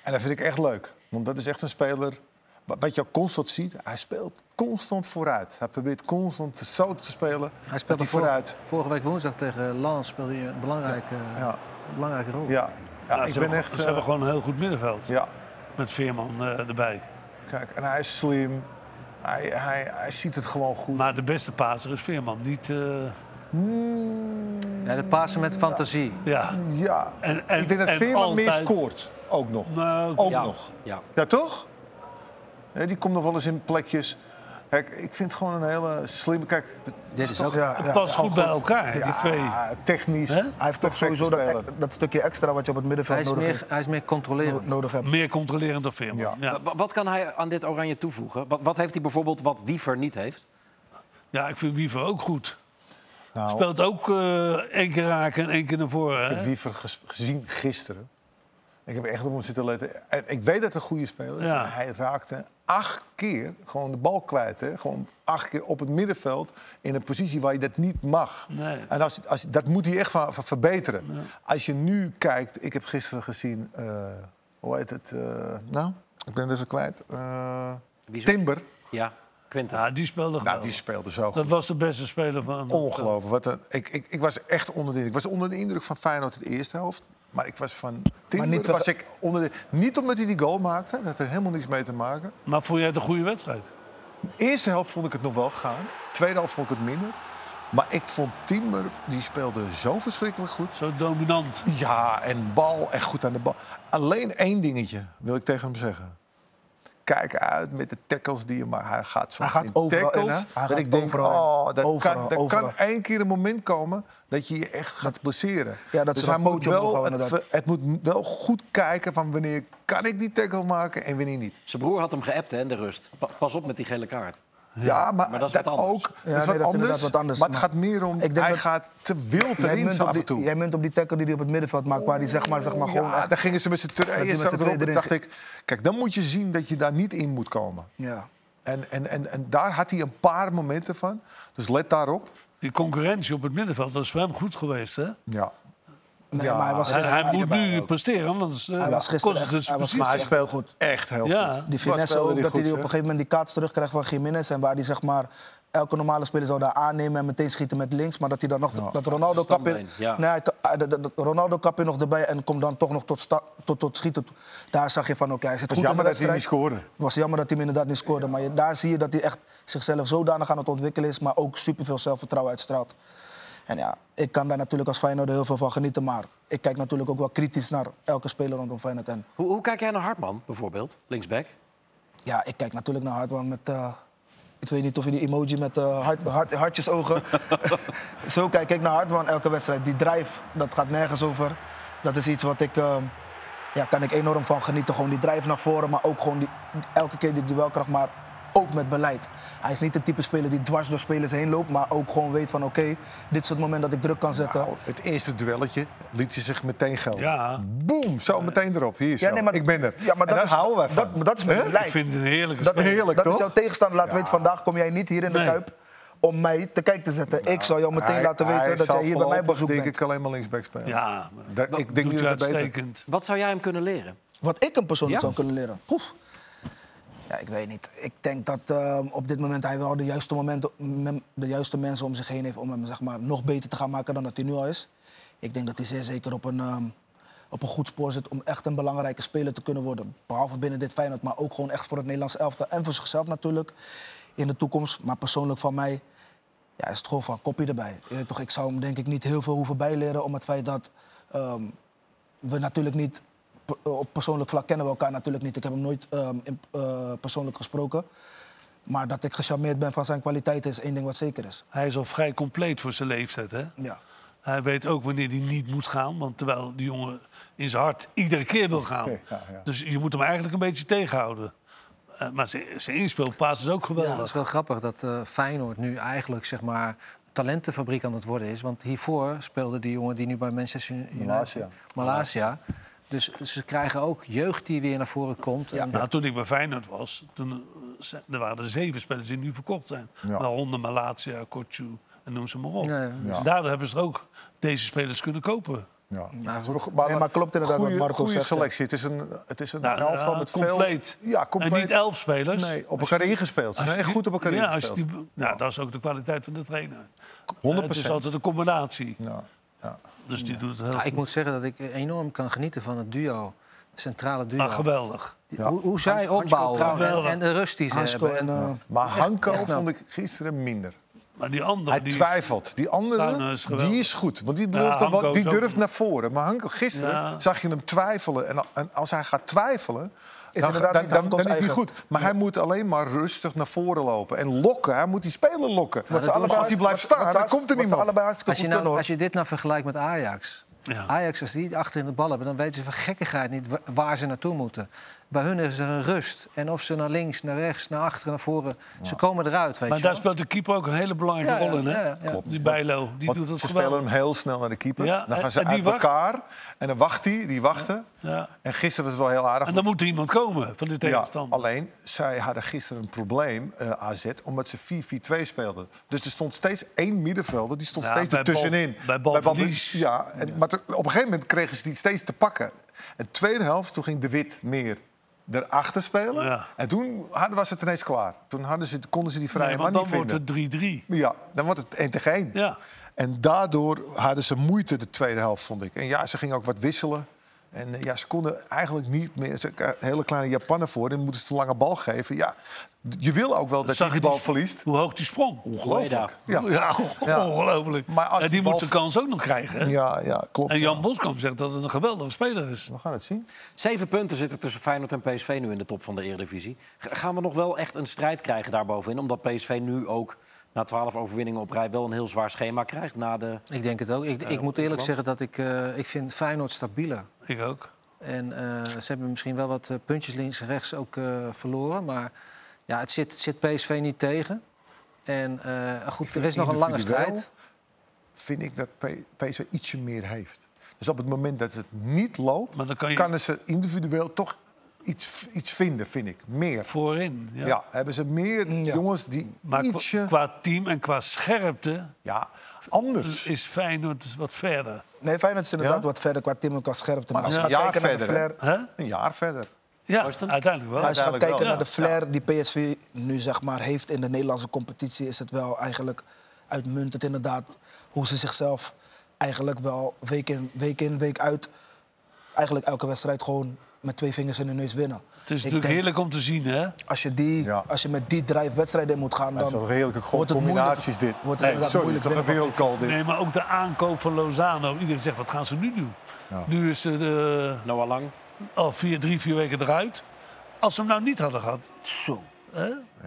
Speaker 3: En dat vind ik echt leuk. Want dat is echt een speler. wa- Wat je ook constant ziet, hij speelt constant vooruit. Hij probeert constant zo te spelen.
Speaker 4: Hij
Speaker 3: dat
Speaker 4: speelde
Speaker 3: hij
Speaker 4: vor-
Speaker 3: vooruit.
Speaker 4: Vorige week woensdag tegen Lans speelde hij een belangrijke,
Speaker 3: Ja,
Speaker 4: belangrijke rol.
Speaker 3: ja. ja,
Speaker 5: Ja,
Speaker 3: ik
Speaker 5: ze
Speaker 3: ben
Speaker 5: hebben,
Speaker 3: echt.
Speaker 5: ze
Speaker 3: eh,
Speaker 5: hebben gewoon een heel goed middenveld.
Speaker 3: ja,
Speaker 5: Met Veerman eh, erbij.
Speaker 3: kijk, en hij is slim. Hij, hij, hij ziet het gewoon goed.
Speaker 5: Maar de beste paser is Veerman. Niet, eh,
Speaker 4: Ja, de Pasen met fantasie.
Speaker 3: Oh,
Speaker 5: ja.
Speaker 3: ja,
Speaker 5: En- en-
Speaker 3: ik denk dat
Speaker 5: en
Speaker 3: Veerman meer
Speaker 5: altijd-
Speaker 3: scoort. Ook nog.
Speaker 5: Nou,
Speaker 3: ook
Speaker 1: Ja,
Speaker 3: nog.
Speaker 1: ja.
Speaker 3: Ja, toch? Ja, die komt nog wel eens in plekjes. Kijk, ik vind het gewoon een hele slimme... Kijk, dit
Speaker 4: Dit is ook
Speaker 2: Ja,
Speaker 5: het
Speaker 2: ja.
Speaker 5: past goed bij elkaar, die Ah, twee.
Speaker 3: technisch.
Speaker 5: Hè?
Speaker 2: Hij heeft toch
Speaker 3: perfecte
Speaker 2: sowieso dat,
Speaker 3: speler.
Speaker 2: e- dat stukje extra wat je op het
Speaker 4: Hij
Speaker 2: middenveld
Speaker 4: is,
Speaker 2: nodig,
Speaker 4: meer, hij is meer
Speaker 2: hebt,
Speaker 4: controlerend.
Speaker 2: nodig hebt.
Speaker 5: Meer controlerend dan Veerman. Ja.
Speaker 3: Ja.
Speaker 5: Ja.
Speaker 1: Eh, Wa- Wat kan hij aan dit oranje toevoegen? Wat, wat heeft hij bijvoorbeeld wat Wiever niet heeft?
Speaker 5: ik vind Wiever ook goed.
Speaker 3: Nou,
Speaker 5: Speelt ook eh, één keer raken en één keer naar voren.
Speaker 3: ik heb
Speaker 5: Hè?
Speaker 3: Wiever ges- gezien gisteren. Ik heb echt op hem zitten letten. En ik weet dat het een goede speler is.
Speaker 5: Ja.
Speaker 3: maar Hij raakte acht keer gewoon de bal kwijt. Hè? Gewoon acht keer op het middenveld. In een positie waar je dat niet mag.
Speaker 5: Nee.
Speaker 3: En als, als, dat moet hij echt van, van verbeteren. Als je nu kijkt, ik heb gisteren gezien, eh, hoe heet het? eh, nou, ik ben het even kwijt. Eh,
Speaker 1: Wie is het?
Speaker 3: Timber.
Speaker 1: Ja, Quinten.
Speaker 5: Ja, die speelde gewoon.
Speaker 3: Nou, die speelde zo
Speaker 5: Dat
Speaker 3: goed.
Speaker 5: was de beste speler van.
Speaker 3: Ongelooflijk. Wat een, ik, ik, ik was echt onder de indruk. Ik was onder de indruk van Feyenoord het eerste helft. Maar ik was van Timber.
Speaker 2: niet
Speaker 3: Niet,
Speaker 2: dat-
Speaker 3: was ik onder de, niet omdat hij die goal maakte. Dat had er helemaal niks mee te maken.
Speaker 5: Maar vond jij het een goede wedstrijd?
Speaker 3: De eerste helft vond ik het nog wel gaan. Tweede helft vond ik het minder. Maar ik vond Timber, die speelde zo verschrikkelijk goed.
Speaker 5: Zo dominant.
Speaker 3: Ja, en bal, echt goed aan de bal. Alleen één dingetje wil ik tegen hem zeggen. Kijk uit met de tackles die je maakt. Hij gaat zo
Speaker 2: Hij gaat
Speaker 3: in
Speaker 2: overal in,
Speaker 3: tackles.
Speaker 2: hè? Hij
Speaker 3: dat
Speaker 2: gaat
Speaker 3: ik denk,
Speaker 2: overal in.
Speaker 3: oh, dat
Speaker 2: Overal,
Speaker 3: kan, er
Speaker 2: overal.
Speaker 3: kan één keer een moment komen dat je je echt gaat blesseren.
Speaker 2: Ja, dat ze
Speaker 3: dus
Speaker 2: dat
Speaker 3: hij moet
Speaker 2: pootje omhoog
Speaker 3: wel,
Speaker 2: houden,
Speaker 3: het,
Speaker 2: inderdaad.
Speaker 3: ver- het moet wel goed kijken van wanneer kan ik die tackle maken en wanneer niet.
Speaker 1: Zijn broer had hem geappt hè, in de rust. Pa- pas op met die gele kaart.
Speaker 3: Ja, maar,
Speaker 1: maar dat
Speaker 3: dat,
Speaker 1: is wat anders.
Speaker 3: ook.
Speaker 2: Ja,
Speaker 3: dat
Speaker 2: nee,
Speaker 3: is wat,
Speaker 2: dat is inderdaad
Speaker 3: anders,
Speaker 2: wat anders,
Speaker 3: Maar het
Speaker 2: maar
Speaker 3: gaat meer om,
Speaker 2: ik denk
Speaker 3: hij
Speaker 2: dat-
Speaker 3: gaat te wild
Speaker 2: Jij
Speaker 3: erin
Speaker 2: munt,
Speaker 3: zo
Speaker 2: op
Speaker 3: af en
Speaker 2: die,
Speaker 3: toe.
Speaker 2: jij munt op die tackle die hij op het middenveld maakt, waar hij zeg maar, zeg maar gewoon
Speaker 3: ja,
Speaker 2: echt...
Speaker 3: dan gingen ze met z'n
Speaker 2: die
Speaker 3: tweeën
Speaker 2: met
Speaker 3: zo
Speaker 2: z'n
Speaker 3: erop.
Speaker 2: tweeën
Speaker 3: Dan dacht
Speaker 2: erin
Speaker 3: ik, kijk, dan moet je zien dat je daar niet in moet komen.
Speaker 2: Ja.
Speaker 3: En, en, en, en daar had hij een paar momenten van. Dus let daarop.
Speaker 5: Die concurrentie op het middenveld, dat is voor hem goed geweest. Hè?
Speaker 3: Ja.
Speaker 2: Nee,
Speaker 3: Ja,
Speaker 2: maar hij was
Speaker 5: Hij,
Speaker 2: gisteren,
Speaker 5: hij moet nu presteren, anders eh,
Speaker 2: hij was gisteren
Speaker 5: kost het
Speaker 2: echt-
Speaker 5: dus
Speaker 2: hij was
Speaker 5: precies.
Speaker 3: Maar hij
Speaker 2: echt
Speaker 3: speelt
Speaker 2: goed.
Speaker 3: echt heel
Speaker 5: Ja.
Speaker 3: goed.
Speaker 2: Die
Speaker 3: Wat
Speaker 2: finesse
Speaker 3: speelde
Speaker 2: ook, dat hij die op
Speaker 3: goed,
Speaker 2: een
Speaker 3: zeg.
Speaker 2: gegeven moment die kaart terugkrijgt van Jiménez... en waar hij zeg maar... Elke normale speler zou daar aannemen en meteen schieten met links. Maar dat hij dan nog... dat Ronaldo kap in...
Speaker 1: standbeen, ja.
Speaker 2: Nee, hij ka- eh, dat- dat- dat Ronaldo kap in nog erbij en komt dan toch nog tot, sta- tot, tot schieten. Daar zag je van, oké, hij zit
Speaker 3: Het
Speaker 2: goed
Speaker 3: was
Speaker 2: in de
Speaker 3: jammer dat hij niet
Speaker 2: wedstrijd.
Speaker 3: scoorde.
Speaker 2: Het was jammer dat hij hem inderdaad niet scoorde. Maar je- daar zie je dat hij echt zichzelf zodanig aan het ontwikkelen is... maar ook superveel zelfvertrouwen uitstraalt. En ja, ik kan daar natuurlijk als Feyenoord heel veel van genieten... maar ik kijk natuurlijk ook wel kritisch naar elke speler rondom Feyenoord. En
Speaker 1: Hoe, hoe kijk jij naar Hartman bijvoorbeeld, linksback?
Speaker 2: ja, ik kijk natuurlijk naar Hartman met... eh, ik weet niet of je die emoji met eh hart, hart, hartjesogen... Zo kijk ik naar Hartman elke wedstrijd. Die drive, dat gaat nergens over. Dat is iets wat ik... eh, ja, kan ik enorm van genieten. Gewoon die drive naar voren, maar ook gewoon die, elke keer die duelkracht, maar ook met beleid. Hij is niet de type speler die dwars door spelers heen loopt, maar ook gewoon weet van oké, dit is het moment dat ik druk kan zetten.
Speaker 3: Nou, het eerste duelletje liet hij zich meteen gelden.
Speaker 5: Ja.
Speaker 3: Boem, zo meteen erop. Hier, zo.
Speaker 2: nee, maar-
Speaker 3: ik ben er.
Speaker 2: Ja, maar
Speaker 3: en
Speaker 2: dat
Speaker 3: daar
Speaker 2: is-
Speaker 3: houden wij van.
Speaker 2: dat- maar dat is met
Speaker 3: Hè?
Speaker 2: beleid.
Speaker 5: Ik vind het een heerlijke
Speaker 2: Dat,
Speaker 5: speler.
Speaker 3: Heerlijk,
Speaker 2: dat
Speaker 3: toch?
Speaker 2: is jouw tegenstander laat weten, vandaag kom jij niet hier in de
Speaker 5: Nee.
Speaker 2: Kuip om mij te kijk te zetten. ik zal jou meteen
Speaker 3: Nou, Hij-
Speaker 2: laten
Speaker 3: hij
Speaker 2: weten dat
Speaker 3: zal
Speaker 2: jij hier bij mij op
Speaker 3: voorlopig,
Speaker 2: bezoek
Speaker 3: denk
Speaker 2: bent.
Speaker 3: ik alleen maar linksback spelen.
Speaker 5: Ja, maar
Speaker 3: Daar-
Speaker 5: dat
Speaker 3: ik denk
Speaker 5: doet
Speaker 3: niet
Speaker 5: hij
Speaker 3: dat het beter-
Speaker 5: uitstekend.
Speaker 1: Wat zou jij hem kunnen leren?
Speaker 2: Wat ik hem persoonlijk
Speaker 1: Ja.
Speaker 2: zou kunnen leren. Poef. Ja, ik weet niet. Ik denk dat eh, op dit moment hij wel de juiste, momenten, mem- de juiste mensen om zich heen heeft om hem zeg maar, nog beter te gaan maken dan dat hij nu al is. Ik denk dat hij zeer zeker op een, ehm, op een goed spoor zit om echt een belangrijke speler te kunnen worden. Behalve binnen dit Feyenoord, maar ook gewoon echt voor het Nederlands elftal en voor zichzelf natuurlijk in de toekomst. Maar persoonlijk van mij ja, is het gewoon van kopje erbij. Je weet toch, ik zou hem denk ik niet heel veel hoeven bijleren om het feit dat ehm, we natuurlijk niet per- eh, op persoonlijk vlak kennen we elkaar natuurlijk niet. Ik heb hem nooit ehm, in- eh, persoonlijk gesproken. Maar dat ik gecharmeerd ben van zijn kwaliteiten is één ding wat zeker is.
Speaker 5: Hij is al vrij compleet voor zijn leeftijd. Hè?
Speaker 2: Ja.
Speaker 5: Hij weet ook wanneer hij niet moet gaan. Want terwijl die jongen in zijn hart iedere keer wil gaan. Dus je moet hem eigenlijk een beetje tegenhouden. Eh, maar zijn- zijn inspeelpaas is ook
Speaker 4: Ja, dat is
Speaker 5: geweldig.
Speaker 4: wel grappig dat eh, Feyenoord nu eigenlijk zeg maar talentenfabriek aan het worden is. Want hiervoor speelde die jongen die nu bij Manchester United...
Speaker 3: Malasia.
Speaker 4: Malasia. Dus ze krijgen ook jeugd die weer naar voren komt. En
Speaker 5: Nou, toen ik bij Feyenoord was, toen, eh, ze- er waren er zeven spelers die nu verkocht zijn.
Speaker 3: Ja.
Speaker 5: Waaronder Malatia, Kortju en en noem ze maar op. Dus
Speaker 2: Ja, ja.
Speaker 3: Ja.
Speaker 5: Daardoor hebben ze er ook deze spelers kunnen kopen.
Speaker 3: Ja.
Speaker 2: Nee, maar klopt inderdaad wat
Speaker 3: goede,
Speaker 2: Marco
Speaker 3: goede
Speaker 2: zegt, ja.
Speaker 3: selectie. Het is een, het is een
Speaker 5: Nou,
Speaker 3: elftal
Speaker 5: ja,
Speaker 3: met
Speaker 5: compleet.
Speaker 3: veel... Ja,
Speaker 5: En niet
Speaker 3: compleet.
Speaker 5: elf spelers.
Speaker 3: nee, op elkaar ingespeeld. Ze
Speaker 5: Als
Speaker 3: zijn echt
Speaker 5: die-
Speaker 3: goed op elkaar
Speaker 5: ja, als
Speaker 3: ingespeeld.
Speaker 5: die, nou, dat is ook de kwaliteit van de trainer. Eh,
Speaker 3: 100
Speaker 5: Het is altijd een combinatie.
Speaker 3: Ja,
Speaker 5: Dus die doet het heel
Speaker 3: Ah,
Speaker 4: Ja, ik
Speaker 5: goed.
Speaker 4: moet zeggen dat ik enorm kan genieten van het duo. Centrale duo.
Speaker 5: Maar Ah, geweldig.
Speaker 4: Hoe, hoe zij opbouwen en, en de rust die ze
Speaker 2: Hansko
Speaker 4: hebben.
Speaker 2: en...
Speaker 4: En,
Speaker 2: eh,
Speaker 3: Maar Hanko vond ik gisteren minder.
Speaker 5: Maar die andere...
Speaker 3: Hij
Speaker 5: die,
Speaker 3: twijfelt. Die andere,
Speaker 5: Tuinhuis is geweldig.
Speaker 3: die is goed. Want die durft, dan
Speaker 5: Hanko
Speaker 3: wat, die
Speaker 5: is ook
Speaker 3: durft
Speaker 5: goed.
Speaker 3: naar voren. Maar Hanko, gisteren
Speaker 5: Ja.
Speaker 3: zag je hem twijfelen. En, en als hij gaat twijfelen, dan,
Speaker 2: inderdaad
Speaker 3: dan,
Speaker 2: niet
Speaker 3: dan,
Speaker 2: Hanko's
Speaker 3: dan is hij
Speaker 2: eigen.
Speaker 3: goed. Maar hij moet alleen maar rustig naar voren lopen. En lokken. Hij moet die speler lokken.
Speaker 2: ze allebei
Speaker 3: als hij
Speaker 2: hartstikke-
Speaker 3: blijft staan,
Speaker 2: wat ze
Speaker 3: dan
Speaker 2: hartst-
Speaker 3: komt er
Speaker 2: wat ze
Speaker 3: niemand.
Speaker 2: allebei hartstikke
Speaker 4: als, je
Speaker 2: goed
Speaker 4: nou,
Speaker 2: kunnen, hoor.
Speaker 4: als je dit nou vergelijkt met Ajax.
Speaker 5: Ja.
Speaker 4: Ajax, als die achterin de bal hebben, dan weten ze van gekkigheid niet wa- waar ze naartoe moeten. Bij hun is er een rust. En of ze naar links, naar rechts, naar achteren, naar voren. Ze komen eruit, weet
Speaker 5: Maar
Speaker 4: je
Speaker 5: daar
Speaker 4: wel.
Speaker 5: speelt de keeper ook een hele belangrijke
Speaker 4: Ja, ja,
Speaker 5: rol in. Hè?
Speaker 4: ja, ja.
Speaker 3: Klopt.
Speaker 5: Die Bijlo, Oh, die
Speaker 3: Want
Speaker 5: doet dat
Speaker 3: ze spelen
Speaker 5: geweldig.
Speaker 3: hem heel snel naar de keeper.
Speaker 5: Ja,
Speaker 3: dan
Speaker 5: en-
Speaker 3: gaan ze
Speaker 5: en die
Speaker 3: uit
Speaker 5: wacht.
Speaker 3: elkaar. En dan wacht hij. Die wachten.
Speaker 5: Ja.
Speaker 3: En gisteren was het wel heel aardig.
Speaker 5: En dan moet er iemand komen van de
Speaker 3: Ja,
Speaker 5: tegenstander.
Speaker 3: alleen zij hadden gisteren een probleem, eh, AZ, omdat ze 4-4-2 speelden. Dus er stond steeds één middenvelder, die stond
Speaker 5: Ja,
Speaker 3: steeds
Speaker 5: bij
Speaker 3: ertussenin.
Speaker 5: bal- bij balverlies.
Speaker 3: ja, en, maar te- op een gegeven moment kregen ze die steeds te pakken. En tweede helft, toen ging De Wit meer erachter spelen.
Speaker 5: Ja.
Speaker 3: En toen hadden, was het ineens klaar. Toen hadden ze, konden ze die vrije
Speaker 5: Nee,
Speaker 3: man
Speaker 5: want
Speaker 3: niet
Speaker 5: dan
Speaker 3: vinden.
Speaker 5: wordt het 3-3.
Speaker 3: Ja, dan wordt het 1 tegen 1.
Speaker 5: Ja.
Speaker 3: En daardoor hadden ze moeite de tweede helft, vond ik. En ja, ze gingen ook wat wisselen. En eh, ja, ze konden eigenlijk niet meer... Ze k- hele kleine Japannen voor, dan moeten ze een lange bal geven. Ja, d- je wil ook wel dat je
Speaker 5: Zag
Speaker 3: die
Speaker 5: je
Speaker 3: bal
Speaker 5: die-
Speaker 3: verliest.
Speaker 5: Hoe hoog die sprong.
Speaker 3: Ongelooflijk.
Speaker 5: Ja,
Speaker 3: Ja. Ja.
Speaker 5: ongelooflijk.
Speaker 3: Maar als
Speaker 5: en die
Speaker 3: die bal-
Speaker 5: moet zijn kans ook nog krijgen. hè?
Speaker 3: Ja, ja, klopt.
Speaker 5: En
Speaker 3: ja.
Speaker 5: Jan Boskamp zegt dat het een geweldige speler is.
Speaker 3: We gaan het zien.
Speaker 1: Zeven punten zitten tussen Feyenoord en PSV nu in de top van de Eredivisie. G- Gaan we nog wel echt een strijd krijgen daarbovenin? Omdat PSV nu ook na twaalf overwinningen op rij wel een heel zwaar schema krijgt. Na de...
Speaker 4: Ik denk het ook. Ik, ik moet eerlijk zeggen dat ik, eh, ik vind Feyenoord stabieler.
Speaker 5: Ik ook.
Speaker 4: En eh, ze hebben misschien wel wat eh, puntjes links en rechts ook eh, verloren. Maar ja, het, zit, het zit PSV niet tegen. En eh, goed, er is nog een lange
Speaker 3: Individueel
Speaker 4: strijd.
Speaker 3: vind ik dat P- PSV ietsje meer heeft. Dus op het moment dat het niet loopt...
Speaker 5: Maar dan kan je-
Speaker 3: kunnen ze individueel toch iets, iets vinden, vind ik. Meer.
Speaker 5: Voorin. Ja.
Speaker 3: Ja, hebben ze meer jongens die
Speaker 5: Maar qua-
Speaker 3: ietsje...
Speaker 5: qua team en qua scherpte
Speaker 3: Ja, anders.
Speaker 5: is Feyenoord wat verder.
Speaker 2: Nee, Feyenoord is inderdaad
Speaker 3: Ja?
Speaker 2: wat verder qua Tim en qua scherpte.
Speaker 3: Maar als je
Speaker 2: je
Speaker 3: een
Speaker 2: gaat
Speaker 3: jaar
Speaker 2: kijken naar de
Speaker 3: verder, hè?
Speaker 2: flair,
Speaker 5: Hè?
Speaker 3: Een jaar verder.
Speaker 5: Ja,
Speaker 1: Oosten?
Speaker 5: uiteindelijk wel.
Speaker 2: als je gaat
Speaker 3: uiteindelijk
Speaker 2: kijken
Speaker 3: wel.
Speaker 2: naar de
Speaker 5: Ja.
Speaker 2: flair die PSV nu zeg maar, heeft in de Nederlandse competitie... is het wel eigenlijk uitmuntend inderdaad hoe ze zichzelf eigenlijk wel week in, week in, week uit... eigenlijk elke wedstrijd gewoon met twee vingers in de neus winnen.
Speaker 5: Het is
Speaker 2: Ik
Speaker 5: natuurlijk
Speaker 2: denk,
Speaker 5: heerlijk om te zien, hè?
Speaker 2: Als je, die,
Speaker 3: Ja.
Speaker 2: als je met die drive wedstrijden in moet gaan,
Speaker 3: Dat zijn
Speaker 2: dan
Speaker 3: redelijke
Speaker 2: wordt het
Speaker 3: combinaties
Speaker 2: moeilijk-
Speaker 3: dit.
Speaker 2: wordt het
Speaker 3: Nee,
Speaker 2: inderdaad
Speaker 3: sorry,
Speaker 2: moeilijk
Speaker 3: toch een
Speaker 2: winnen van
Speaker 3: wereldcall dit.
Speaker 5: Nee, maar ook de aankoop van Lozano. Iedereen zegt, wat gaan ze nu doen? Nu is ze de,
Speaker 1: Noah Lang.
Speaker 5: al vier, drie, vier weken eruit. Als ze hem nou niet hadden gehad. Zo.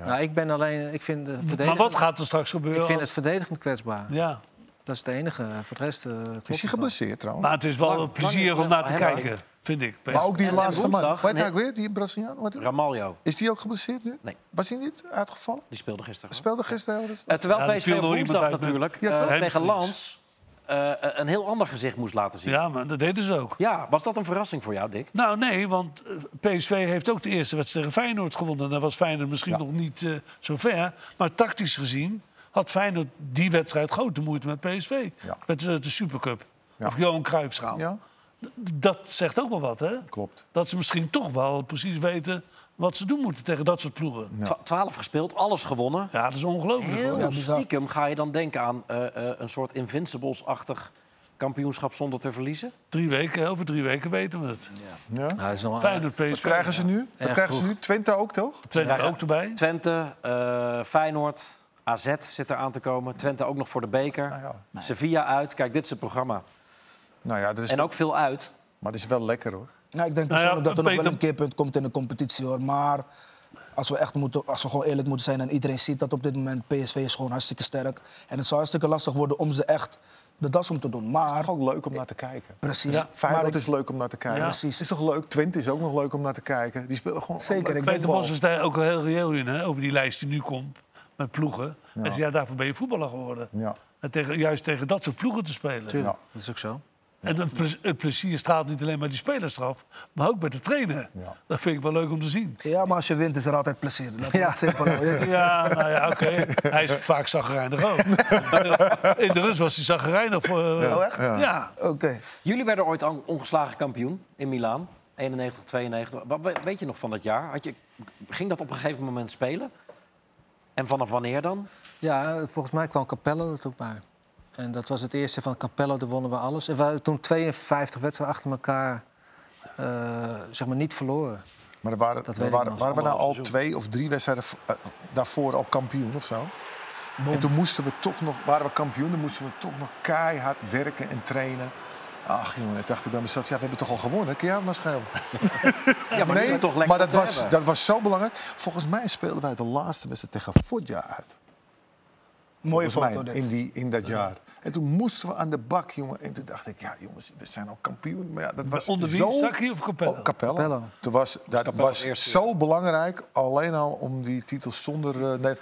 Speaker 4: Nou, ik ben alleen, ik vind de
Speaker 5: Maar
Speaker 4: verdediging...
Speaker 5: wat gaat er straks gebeuren?
Speaker 4: Ik vind het
Speaker 5: als-
Speaker 4: verdedigend kwetsbaar.
Speaker 5: Ja,
Speaker 4: Dat is het enige. Voor de rest eh, klopt
Speaker 3: Is
Speaker 4: het
Speaker 3: hij geblesseerd trouwens?
Speaker 5: maar het is wel
Speaker 1: Lang-
Speaker 5: een plezier
Speaker 1: lang-
Speaker 5: om naar te
Speaker 1: ja,
Speaker 5: kijken, vind ik. best.
Speaker 3: Maar ook die
Speaker 1: en- en
Speaker 3: laatste man.
Speaker 1: woensdag-
Speaker 3: Weet hij
Speaker 1: nee.
Speaker 3: ook weer, die Braziliaan? Wat-
Speaker 1: Ramaljo,
Speaker 3: Is die ook geblesseerd nu?
Speaker 1: Nee.
Speaker 3: Was hij niet uitgevallen?
Speaker 1: die speelde gisteren.
Speaker 3: Speelde gisteren heel rustig.
Speaker 1: Eh, terwijl
Speaker 5: Ja, er
Speaker 1: PSV
Speaker 5: viel
Speaker 1: op
Speaker 5: nog iemand
Speaker 1: woensdag
Speaker 5: uit met-
Speaker 1: natuurlijk
Speaker 5: Ja,
Speaker 1: eh,
Speaker 5: toch?
Speaker 1: tegen
Speaker 5: Hamstrings.
Speaker 1: Lans eh, een heel ander gezicht moest laten zien. Ja.
Speaker 5: Ja, maar dat deden ze ook.
Speaker 1: was dat een verrassing voor jou, Dick?
Speaker 5: Nou, nee, want eh, PSV heeft ook de eerste wedstrijd tegen Feyenoord gewonnen. En daar was Feyenoord misschien nog niet eh, zo ver. Maar tactisch gezien had Feyenoord die wedstrijd grote moeite met PSV.
Speaker 3: Ja.
Speaker 5: Met eh, de Supercup.
Speaker 3: Ja.
Speaker 5: Of Johan Cruijffschaal.
Speaker 3: Ja,
Speaker 5: D- Dat zegt ook wel wat, hè?
Speaker 3: klopt.
Speaker 5: Dat ze misschien toch wel precies weten wat ze doen moeten tegen dat soort ploegen.
Speaker 1: Twa- Twaalf gespeeld, alles gewonnen.
Speaker 5: Ja, dat is ongelooflijk.
Speaker 1: Heel
Speaker 5: hoor.
Speaker 2: bizar.
Speaker 1: stiekem ga je dan denken aan eh, eh, een soort Invincibles-achtig kampioenschap zonder te verliezen.
Speaker 5: Drie weken, over drie weken weten we het.
Speaker 3: Ja.
Speaker 4: wel. Nou, het is nog wel-
Speaker 5: Feyenoord, PSV.
Speaker 3: Wat krijgen ze nu? Wat
Speaker 4: Erg
Speaker 3: krijgen ze
Speaker 4: vroeg.
Speaker 3: nu? Twente ook toch?
Speaker 5: Twente
Speaker 1: Ja, ja.
Speaker 5: ook erbij.
Speaker 1: Twente, eh, Feyenoord, AZ zit er aan te komen. Twente ook nog voor de beker.
Speaker 5: Ah,
Speaker 3: Nou ja,
Speaker 1: Sevilla uit. Kijk, dit is het programma.
Speaker 3: nou ja
Speaker 5: Dus
Speaker 3: dat is,
Speaker 1: En ook veel uit.
Speaker 3: maar dat is wel lekker hoor.
Speaker 2: Nou, ik denk
Speaker 5: Nou ja,
Speaker 2: persoonlijk dat er nog
Speaker 5: Peter-
Speaker 2: wel een keerpunt komt in de competitie hoor. Maar als we, echt moeten, als we gewoon eerlijk moeten zijn en iedereen ziet dat op dit moment PSV is gewoon hartstikke sterk. En het zou hartstikke lastig worden om ze echt de das om te doen. Maar
Speaker 3: Gewoon leuk om naar te kijken.
Speaker 2: precies.
Speaker 5: Ja,
Speaker 2: maar
Speaker 3: Feyenoord
Speaker 2: ik-
Speaker 3: is leuk om naar te kijken.
Speaker 5: Ja.
Speaker 2: Precies.
Speaker 3: Is toch leuk? Twente is ook nog leuk om naar te kijken. Die spelen gewoon
Speaker 2: Zeker,
Speaker 3: leuk
Speaker 2: ik
Speaker 5: Peter
Speaker 2: voetbal.
Speaker 5: Bos is daar ook heel reëel in, hè, over die lijst die nu komt met ploegen. Hij zei, ja, daarvoor ben je voetballer geworden.
Speaker 3: Ja.
Speaker 5: En tegen, juist tegen dat soort ploegen te spelen.
Speaker 4: Tuurlijk, dat is ook zo.
Speaker 5: En het, ple- het plezier straalt niet alleen bij die spelers eraf, maar ook bij de trainer. Dat vind ik wel leuk om te zien.
Speaker 2: Ja, maar als je wint is er altijd plezier. Laten we het simpel houden.
Speaker 5: Ja, nou ja, oké. Hij is vaak zagrijnig ook. In de rust was hij zagrijnig. Voor, ja, ja.
Speaker 2: Oké.
Speaker 1: Jullie werden ooit on- ongeslagen kampioen in Milaan. 91, 92. Wat we- weet je nog van dat jaar? Had je, ging dat op een gegeven moment spelen? En vanaf wanneer dan?
Speaker 4: Ja, volgens mij kwam Capello er toen bij. En dat was het eerste van Capello, daar wonnen we alles. En we hadden toen 52 wedstrijden achter elkaar eh, zeg maar niet verloren.
Speaker 3: Maar er waren,
Speaker 4: Dat
Speaker 3: er
Speaker 4: weet ik
Speaker 3: waren,
Speaker 4: nog,
Speaker 3: waren we nou al
Speaker 4: anderhalf seizoen.
Speaker 3: twee of drie wedstrijden v- eh, daarvoor al kampioen of zo? En toen moesten we toch nog, waren we kampioen, dan moesten we toch nog keihard werken en trainen. Ach jongen, ik dacht ik bij mezelf, ja, we hebben toch al gewonnen, kun je het maar schelen.
Speaker 1: Ja, maar, nu
Speaker 3: nee,
Speaker 1: toch lekker
Speaker 3: maar
Speaker 1: om
Speaker 3: dat
Speaker 1: te
Speaker 3: was,
Speaker 1: hebben.
Speaker 3: dat was zo belangrijk. Volgens mij speelden wij de laatste wedstrijd tegen Foggia uit.
Speaker 2: Mooie
Speaker 3: Volgens
Speaker 2: foto.
Speaker 3: mij,
Speaker 2: dit.
Speaker 3: in, die, in dat jaar. En toen moesten we aan de bak, jongen. En toen dacht ik, ja jongens, we zijn al kampioen. Maar ja, dat was
Speaker 5: Onder wie?
Speaker 3: zo...
Speaker 5: Sacchi of Capello?
Speaker 3: Oh, Capello.
Speaker 4: Capello.
Speaker 3: Toen was, dat
Speaker 1: Dus Capello
Speaker 3: was
Speaker 1: het eerste,
Speaker 3: zo belangrijk, alleen al om die titel zonder... eh, nee,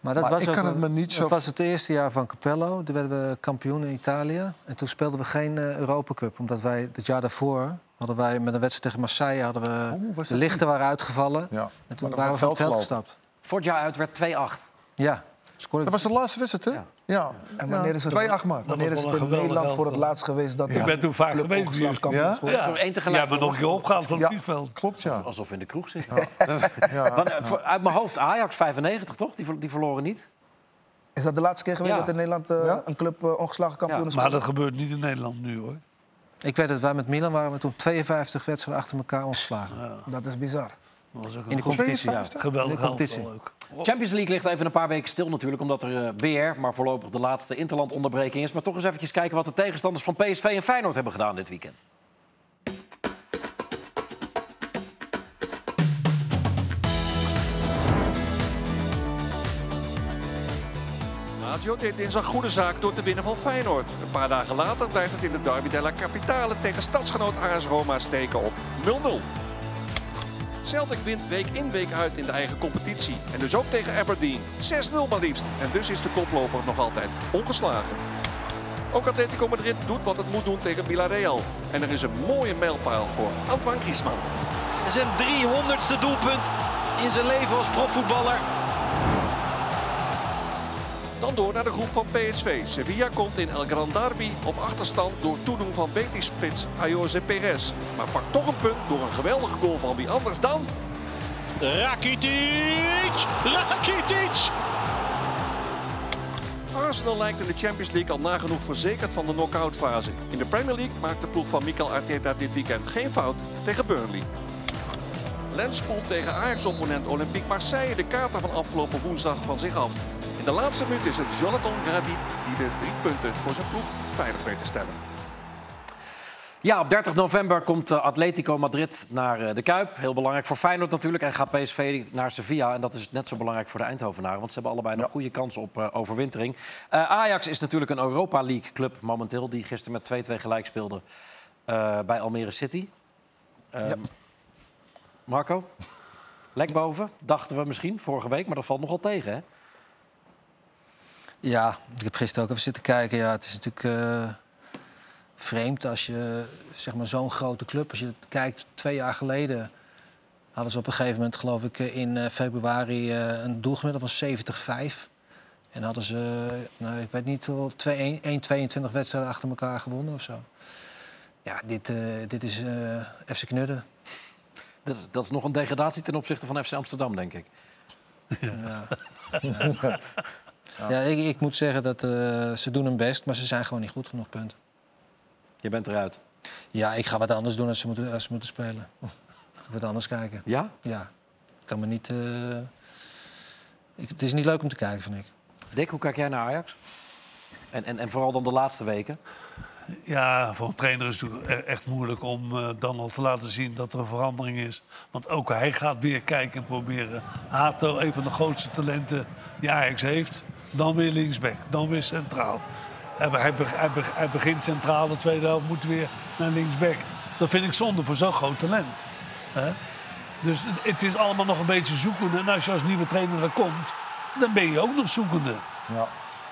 Speaker 4: Maar dat
Speaker 3: Maar
Speaker 4: was
Speaker 3: ik
Speaker 4: ook
Speaker 3: kan
Speaker 4: een-
Speaker 3: het me niet zo-
Speaker 4: Dat was het eerste jaar van Capello. Toen werden we kampioen in Italië. En toen speelden we geen eh, Europa Cup. Omdat wij het jaar daarvoor hadden wij met een wedstrijd tegen Marseille... hadden we
Speaker 3: Oh, was
Speaker 4: de
Speaker 3: dat
Speaker 4: lichten waren uitgevallen.
Speaker 3: Ja.
Speaker 4: En toen
Speaker 3: Maar
Speaker 4: waren we van het veld
Speaker 3: gelopen.
Speaker 4: gestapt.
Speaker 1: Vorig jaar uit werd 2-8.
Speaker 4: Ja, scoorde
Speaker 3: Dat was de laagste wedstrijd, hè? Ja.
Speaker 2: En wanneer is het,
Speaker 3: Twee acht maar.
Speaker 2: wanneer
Speaker 5: was
Speaker 2: is
Speaker 5: wel
Speaker 2: het
Speaker 5: een
Speaker 2: in
Speaker 5: geweldig
Speaker 2: Nederland voor het
Speaker 5: elftal.
Speaker 2: laatst geweest dat
Speaker 5: Ik ben toen vaak
Speaker 2: club
Speaker 5: geweest.
Speaker 2: ongeslagen
Speaker 5: hier.
Speaker 2: kampioen
Speaker 3: Ja?
Speaker 2: is geworden?
Speaker 5: Ja,
Speaker 1: Zo'n één tegelijk,
Speaker 5: Jij bent nog een keer opgehaald van het vliegveld.
Speaker 3: Klopt, ja.
Speaker 1: Alsof we in de kroeg zitten. Want, eh, voor- Uit mijn hoofd Ajax 95, toch? Die, ver- die verloren niet.
Speaker 2: Is dat de laatste keer geweest
Speaker 1: Ja.
Speaker 2: dat in Nederland eh,
Speaker 3: Ja.
Speaker 2: een club eh, ongeslagen kampioen
Speaker 1: Ja,
Speaker 2: is
Speaker 5: Maar
Speaker 2: geworden?
Speaker 5: dat gebeurt niet in Nederland nu hoor.
Speaker 4: Ik weet dat wij met Milan waren we toen 52 wedstrijden achter elkaar ontslagen.
Speaker 2: Dat is bizar.
Speaker 5: Dat was ook
Speaker 4: In
Speaker 5: een
Speaker 4: de competitie. ja.
Speaker 5: geweldig
Speaker 4: in de competitie.
Speaker 5: elftal ook.
Speaker 1: Champions League ligt even een paar weken stil natuurlijk... omdat er eh, weer, maar voorlopig de laatste interlandonderbreking is. Maar toch eens eventjes kijken wat de tegenstanders van PSV en Feyenoord hebben gedaan dit weekend.
Speaker 6: Lazio deed dinsdag goede zaak door te winnen van Feyenoord. Een paar dagen later blijft het in de derby della Capitale tegen stadsgenoot AS Roma steken op 0-0. Celtic wint week in week uit in de eigen competitie. En dus ook tegen Aberdeen. 6-0 maar liefst. En dus is de koploper nog altijd ongeslagen. Ook Atletico Madrid doet wat het moet doen tegen Villarreal. En er is een mooie mijlpaal voor Antoine Griezmann.
Speaker 7: Zijn 300ste doelpunt in zijn leven als profvoetballer.
Speaker 6: Dan door naar de groep van PSV. Sevilla komt in El Gran Derby op achterstand door toedoen van Betis-spits Ayoze Perez. Maar pakt toch een punt door een geweldige goal van wie anders dan?
Speaker 7: Rakitic! Rakitic!
Speaker 6: Arsenal lijkt in de Champions League al nagenoeg verzekerd van de knock-outfase. In de Premier League maakt de ploeg van Mikel Arteta dit weekend geen fout tegen Burnley. Lens spoelt tegen Ajax-opponent Olympique Marseille de kater van afgelopen woensdag van zich af. In de laatste minuut is het Jonathan Gradit die de drie punten voor zijn ploeg veilig weet te stellen.
Speaker 1: Ja, op 30 november komt eh, Atletico Madrid naar eh, de Kuip. Heel belangrijk voor Feyenoord natuurlijk. En gaat PSV naar Sevilla. En dat is net zo belangrijk voor de Eindhovenaren. Want ze hebben allebei nog goede kansen op eh, overwintering. Eh, Ajax is natuurlijk een Europa League club momenteel. Die gisteren met 2-2 gelijk speelde eh, bij Almere City. Ehm, Marco, lek boven. Dachten we misschien vorige week. Maar dat valt nogal tegen, hè?
Speaker 4: Ja, ik heb gisteren ook even zitten kijken. Ja, het is natuurlijk eh, vreemd als je zeg maar, zo'n grote club... als je het kijkt, twee jaar geleden hadden ze op een gegeven moment... geloof ik eh, in eh, februari eh, een doelgemiddelde van 70-5. En hadden ze, eh, nou, ik weet niet, wel 2-1 1-22 wedstrijden achter elkaar gewonnen of zo. Ja, dit, eh, dit is eh, FC Knudden.
Speaker 1: Dat is, dat is nog een degradatie ten opzichte van FC Amsterdam, denk ik.
Speaker 4: Ja, ik, ik moet zeggen dat eh, ze doen hun best, maar ze zijn gewoon niet goed genoeg, punt.
Speaker 1: Je bent eruit.
Speaker 4: Ja, ik ga wat anders doen als ze moeten, als ze moeten spelen. Ik ga wat anders kijken.
Speaker 1: Ja?
Speaker 4: Ja, ik kan me niet... eh, ik- het is niet leuk om te kijken, vind ik.
Speaker 1: Dick, hoe kijk jij naar Ajax? En, en, en vooral dan de laatste weken.
Speaker 5: Ja, voor een trainer is het natuurlijk e- echt moeilijk om eh, dan al te laten zien dat er een verandering is. Want ook hij gaat weer kijken en proberen. Hato, een van de grootste talenten die Ajax heeft. Dan weer linksback, dan weer centraal. Hij, be- hij, be- hij, be- hij begint centraal, de tweede helft moet weer naar linksback. Dat vind ik zonde voor zo'n groot talent. Hè? Dus het- het is allemaal nog een beetje zoekende. En als je als nieuwe trainer er komt, dan ben je ook nog zoekende.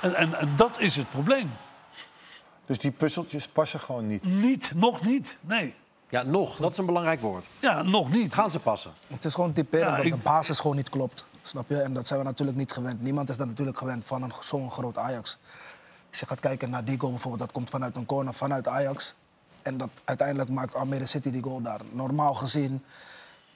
Speaker 5: En, en, en dat is het probleem.
Speaker 3: Dus die puzzeltjes passen gewoon niet.
Speaker 5: Niet, nog niet. Nee.
Speaker 1: Ja, nog. Dat is een belangrijk woord.
Speaker 5: Ja, nog niet.
Speaker 1: Gaan ze passen?
Speaker 2: Het is gewoon typerend
Speaker 5: Ja,
Speaker 2: dat
Speaker 5: ik-
Speaker 2: de basis gewoon niet klopt. Snap je? En dat zijn we natuurlijk niet gewend. Niemand is dat natuurlijk gewend van een- zo'n groot Ajax. Als je gaat kijken naar die goal bijvoorbeeld, dat komt vanuit een corner, vanuit Ajax. En dat uiteindelijk maakt Almere City die goal daar. Normaal gezien,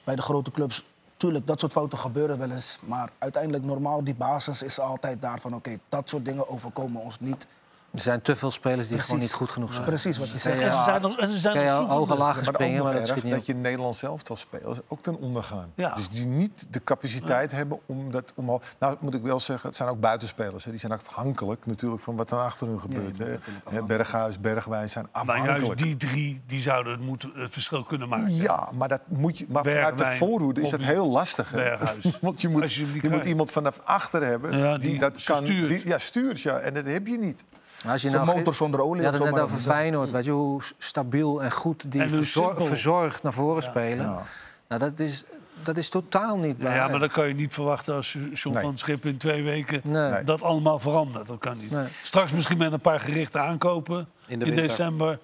Speaker 2: bij de grote clubs, tuurlijk, dat soort fouten gebeuren wel eens. Maar uiteindelijk, normaal, die basis is altijd daar van... oké, dat soort dingen overkomen ons niet.
Speaker 4: Er zijn te veel spelers die gewoon niet goed genoeg zijn.
Speaker 2: Precies wat je zegt.
Speaker 5: En ze zijn nog, en ze zijn
Speaker 4: Kan
Speaker 5: nog
Speaker 4: je
Speaker 5: zoekende.
Speaker 4: ogen lager
Speaker 3: Maar ook
Speaker 4: springen,
Speaker 3: nog
Speaker 4: maar dat
Speaker 3: erg
Speaker 4: schiet niet
Speaker 3: dat
Speaker 4: op.
Speaker 3: je Nederlands elftal spelers ook ten onder gaan.
Speaker 5: Ja.
Speaker 3: Dus die niet de capaciteit hebben om dat omhoog... Nou, moet ik wel zeggen, het zijn ook buitenspelers. Hè. Die zijn ook afhankelijk natuurlijk van wat er achter hun gebeurt. hè. Hè, Berghuis, Bergwijn zijn
Speaker 5: Maar
Speaker 3: afhankelijk.
Speaker 5: Nou, juist die drie die zouden het, moeten, het verschil kunnen maken.
Speaker 3: Ja, maar, dat moet je, maar vanuit de
Speaker 5: Bergwijn,
Speaker 3: voorhoede is dat
Speaker 5: Bobby,
Speaker 3: heel lastig. hè.
Speaker 5: Berghuis.
Speaker 3: Want je
Speaker 5: Als
Speaker 3: moet,
Speaker 5: je hem niet
Speaker 3: je moet
Speaker 5: krijgt.
Speaker 3: iemand vanaf achter hebben
Speaker 5: Ja, die
Speaker 3: dat
Speaker 5: ze
Speaker 3: kan.
Speaker 5: stuurt.
Speaker 3: die- ja, stuurt ja. En dat heb je niet.
Speaker 4: Maar Als je
Speaker 2: Zo'n
Speaker 4: nou ge-
Speaker 2: motor zonder olie,
Speaker 4: Je
Speaker 2: om
Speaker 4: had het
Speaker 2: zo
Speaker 4: net
Speaker 2: maar
Speaker 4: over
Speaker 2: te zeggen.
Speaker 4: Feyenoord. Weet je hoe s- stabiel en goed die
Speaker 5: En hoe
Speaker 4: verzor-
Speaker 5: simpel.
Speaker 4: verzorgd naar voren spelen. Nou, dat is, dat is totaal niet
Speaker 5: Ja,
Speaker 4: waar.
Speaker 5: maar dat kan je niet verwachten als John
Speaker 3: Nee.
Speaker 5: van Schip in twee weken
Speaker 4: Nee.
Speaker 5: dat allemaal verandert. Dat kan niet.
Speaker 4: Nee.
Speaker 5: Straks misschien met een paar gerichte aankopen
Speaker 1: In
Speaker 5: in,
Speaker 1: de winter.
Speaker 5: december.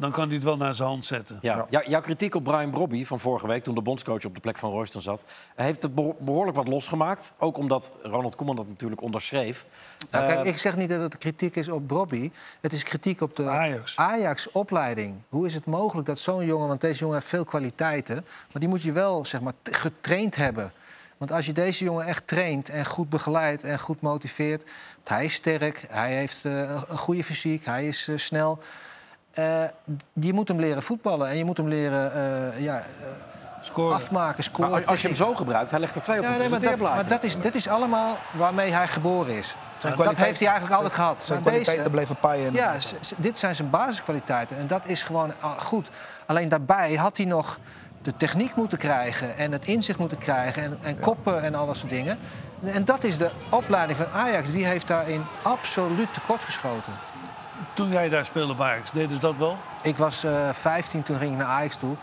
Speaker 5: Dan kan hij het wel naar zijn hand zetten.
Speaker 1: Ja. Ja, jouw kritiek op Brian Brobby van vorige week, toen de bondscoach op de plek van Royston zat, heeft het beho- behoorlijk wat losgemaakt. Ook omdat Ronald Koeman dat natuurlijk onderschreef.
Speaker 4: Nou,
Speaker 1: Eh,
Speaker 4: kijk, ik zeg niet dat het kritiek is op Bobby. Het is kritiek op de
Speaker 5: Ajax.
Speaker 4: Ajax-opleiding. Hoe is het mogelijk dat zo'n jongen... want deze jongen heeft veel kwaliteiten... maar die moet je wel zeg maar, t- getraind hebben. Want als je deze jongen echt traint en goed begeleidt en goed motiveert... want hij is sterk, hij heeft eh, een- een goede fysiek, hij is eh, snel... eh, je moet hem leren voetballen en je moet hem leren eh, ja, eh,
Speaker 5: Scoren.
Speaker 4: afmaken,
Speaker 1: maar
Speaker 4: scoren.
Speaker 1: als, als je hem
Speaker 4: techniek.
Speaker 1: zo gebruikt, hij legt er twee op
Speaker 4: Ja,
Speaker 1: een
Speaker 4: nee, maar dat,
Speaker 1: presenteerblaadje.
Speaker 4: maar dat, is, dit is allemaal waarmee hij geboren is. dat
Speaker 2: kwaliteiten-
Speaker 4: heeft hij eigenlijk altijd gehad.
Speaker 2: Zijn
Speaker 4: Maar
Speaker 2: kwaliteiten
Speaker 4: deze-
Speaker 2: blijven paaien.
Speaker 4: ja, z- z- dit zijn zijn basiskwaliteiten en dat is gewoon ah, goed. Alleen daarbij had hij nog de techniek moeten krijgen en het inzicht moeten krijgen en, en koppen en al dat soort dingen. En dat is de opleiding van Ajax, die heeft daarin absoluut tekortgeschoten.
Speaker 5: Toen jij daar speelde bij Ajax, deden ze dat wel?
Speaker 4: Ik was eh 15 toen ging ik naar Ajax toe.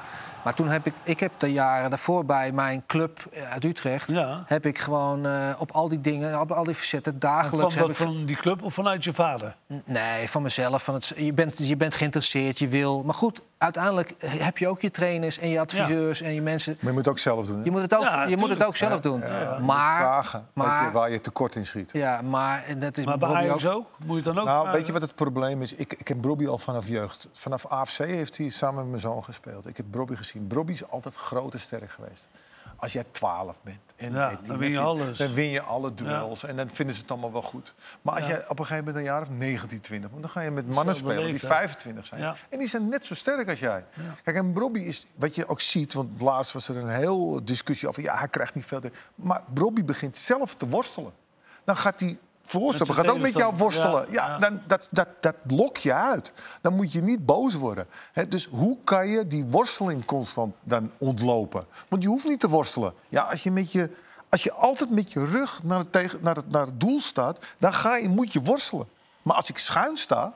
Speaker 4: Maar toen heb ik, ik heb de jaren daarvoor bij mijn club eh, uit Utrecht...
Speaker 5: Ja.
Speaker 4: heb ik gewoon eh, op al die dingen, op al die facetten,
Speaker 5: Kwam
Speaker 4: dagelijks...
Speaker 5: dat
Speaker 4: heb ik-
Speaker 5: van die club of vanuit je vader?
Speaker 4: Nee, van mezelf. Van het, je, bent, je bent geïnteresseerd, je wil. Maar goed, uiteindelijk eh, heb je ook je trainers en je adviseurs en je mensen.
Speaker 3: Maar je moet het ook zelf doen. hè.
Speaker 4: Je moet het ook,
Speaker 5: Ja,
Speaker 4: je moet het
Speaker 5: tuurlijk.
Speaker 4: ook zelf doen.
Speaker 3: Moet
Speaker 4: Maar,
Speaker 3: vragen wat
Speaker 4: maar,
Speaker 3: je, waar je tekort in schiet.
Speaker 4: ja, maar en dat is
Speaker 5: Maar bij
Speaker 4: Bobby
Speaker 5: Ajax ook? Moet je het dan ook
Speaker 3: Nou,
Speaker 5: vragen?
Speaker 3: weet je wat het probleem is? Ik, ik ken Brobby al vanaf jeugd. Vanaf AFC heeft hij samen met mijn zoon gespeeld. Ik heb Brobby gezien. Brobby is altijd groot en sterk geweest. Als jij 12 bent en
Speaker 5: Ja,
Speaker 3: 13,
Speaker 5: dan win je
Speaker 3: vind-
Speaker 5: alles.
Speaker 3: Dan win je alle duels en dan vinden ze het allemaal wel goed. Maar als jij op een gegeven moment een jaar of 19, 20 want dan ga je met mannen
Speaker 5: Hetzelfde
Speaker 3: spelen die
Speaker 5: leeftijd.
Speaker 3: 25 zijn.
Speaker 5: Ja.
Speaker 3: En die zijn net zo sterk als jij. Kijk, en Brobby is, wat je ook ziet, want laatst was er een heel discussie over... ja, hij krijgt niet veel. te- Maar Brobby begint zelf te worstelen. Dan gaat hij voorstappen,
Speaker 5: zijn
Speaker 3: gaat ook met jou
Speaker 5: tegenstander.
Speaker 3: worstelen.
Speaker 5: Ja,
Speaker 3: ja,
Speaker 5: ja.
Speaker 3: dan, dat, dat, dat lok je uit. Dan moet je niet boos worden. Hè, dus hoe kan je die worsteling constant dan ontlopen? Want je hoeft niet te worstelen. Ja, als je met je... Als je altijd met je rug naar het, tegen, naar het, naar het doel staat, dan ga je, moet je worstelen. Maar als ik schuin sta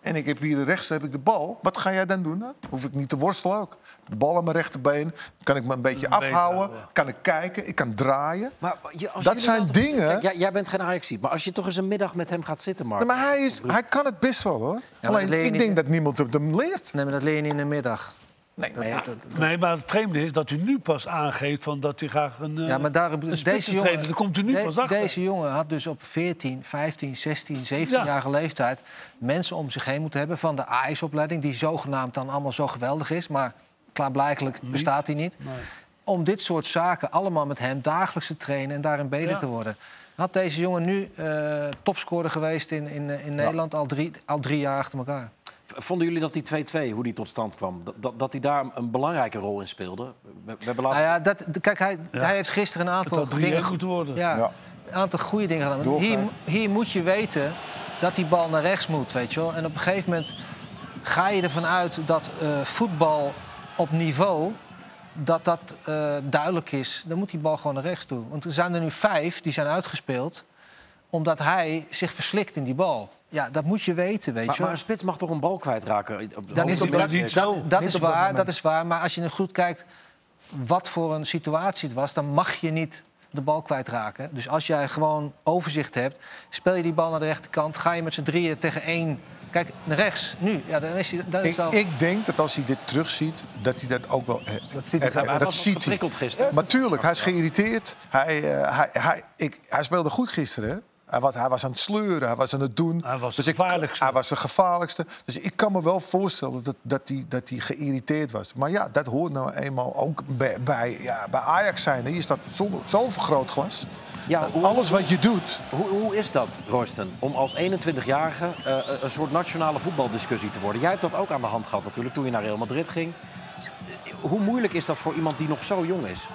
Speaker 3: en ik heb hier rechts heb ik de bal, wat ga jij dan doen? Dan hoef ik niet te worstelen ook. De bal aan mijn rechterbeen, kan ik me een beetje
Speaker 5: beetje
Speaker 3: afhouden,
Speaker 5: houden.
Speaker 3: kan ik kijken, ik kan draaien.
Speaker 1: Maar je- als
Speaker 3: Dat
Speaker 1: jullie
Speaker 3: zijn
Speaker 1: nou toch-
Speaker 3: dingen-
Speaker 1: Kijk, jij, jij bent geen ajax maar als je toch eens een middag met hem gaat zitten, Mark...
Speaker 3: Nee, maar hij, is, hij kan het best wel hoor.
Speaker 4: dat
Speaker 3: Alleen
Speaker 4: leer je
Speaker 3: ik
Speaker 4: niet,
Speaker 3: denk
Speaker 4: hè?
Speaker 3: dat niemand het hem leert.
Speaker 4: Nee, maar dat leer je niet in de middag. Nee, dat, dat- dat-
Speaker 5: Nee, maar het vreemde is dat u nu pas aangeeft van dat hij graag een, eh,
Speaker 4: ja, maar daar,
Speaker 5: een
Speaker 4: deze
Speaker 5: spitsentrainer-
Speaker 4: jongen,
Speaker 5: Daar komt u nu
Speaker 4: de-
Speaker 5: pas achter.
Speaker 4: deze jongen had dus op 14, 15, 16, 17-jarige leeftijd mensen om zich heen moeten hebben van de AIS-opleiding, die zogenaamd dan allemaal zo geweldig is, maar klaarblijkelijk bestaat die niet. Om dit soort zaken allemaal met hem dagelijks te trainen en daarin beter
Speaker 5: Ja.
Speaker 4: te worden. Had deze jongen nu eh, topscorer geweest in, in, eh, in Nederland al, drie, al drie jaar achter elkaar?
Speaker 1: Vonden jullie dat die 2-2, hoe die tot stand kwam, dat, dat, dat hij daar een belangrijke rol in speelde? We, we hebben laatst...
Speaker 4: Nou ja, dat, d- kijk, hij, hij heeft gisteren een aantal
Speaker 5: had 3-1
Speaker 4: dingen
Speaker 5: moeten worden.
Speaker 4: Ja,
Speaker 3: Ja.
Speaker 4: een aantal goede dingen gedaan. Maar Hier, hier moet je weten dat die bal naar rechts moet, weet je wel. En op een gegeven moment ga je ervan uit dat eh, voetbal op niveau dat dat eh, duidelijk is. Dan moet die bal gewoon naar rechts toe. Want er zijn er nu vijf die zijn uitgespeeld omdat hij zich verslikt in die bal. Ja, dat moet je weten, weet
Speaker 1: maar,
Speaker 4: je wel.
Speaker 1: maar een spits mag toch een bal kwijtraken? op-
Speaker 4: Dat
Speaker 1: op-
Speaker 4: is,
Speaker 5: hij
Speaker 4: dat,
Speaker 1: op-
Speaker 5: maar niet zo.
Speaker 4: dat- dat
Speaker 2: Niet
Speaker 4: is
Speaker 2: op dat
Speaker 4: waar,
Speaker 2: moment.
Speaker 4: dat is waar. Maar als je nu goed kijkt wat voor een situatie het was... dan mag je niet de bal kwijtraken. Dus als jij gewoon overzicht hebt... speel je die bal naar de rechterkant... ga je met z'n drieën tegen één Kijk, naar rechts, nu. Ja, dan is hij, dan
Speaker 3: Ik,
Speaker 4: is al...
Speaker 3: ik denk dat als hij dit terugziet, dat hij dat ook wel eh,
Speaker 2: Dat ziet hij
Speaker 3: erkent.
Speaker 2: zelf.
Speaker 1: Hij
Speaker 3: dat
Speaker 1: was
Speaker 3: ziet hij.
Speaker 1: geprikkeld gisteren.
Speaker 3: Maar tuurlijk, hij is geïrriteerd. Hij, eh, hij, hij, ik, hij speelde goed gisteren. Hè? Hij, was, hij was aan het sleuren, hij was aan het doen.
Speaker 5: Hij was
Speaker 3: dus
Speaker 5: de
Speaker 3: ik-
Speaker 5: gevaarlijkste.
Speaker 3: hij was de gevaarlijkste. Dus ik kan me wel voorstellen dat, dat, hij, dat hij geïrriteerd was. Maar ja, dat hoort nou eenmaal ook bij, bij, ja, bij Ajax zijn. Hier is dat zo'n zo vergrootglas.
Speaker 1: Ja, hoe-
Speaker 3: Alles wat je doet,
Speaker 1: Hoe, hoe is dat, Royston, om als 21-jarige eh, een soort nationale voetbaldiscussie te worden? Jij hebt dat ook aan de hand gehad natuurlijk toen je naar Real Madrid ging. Eh, Hoe moeilijk is dat voor iemand die nog zo jong is?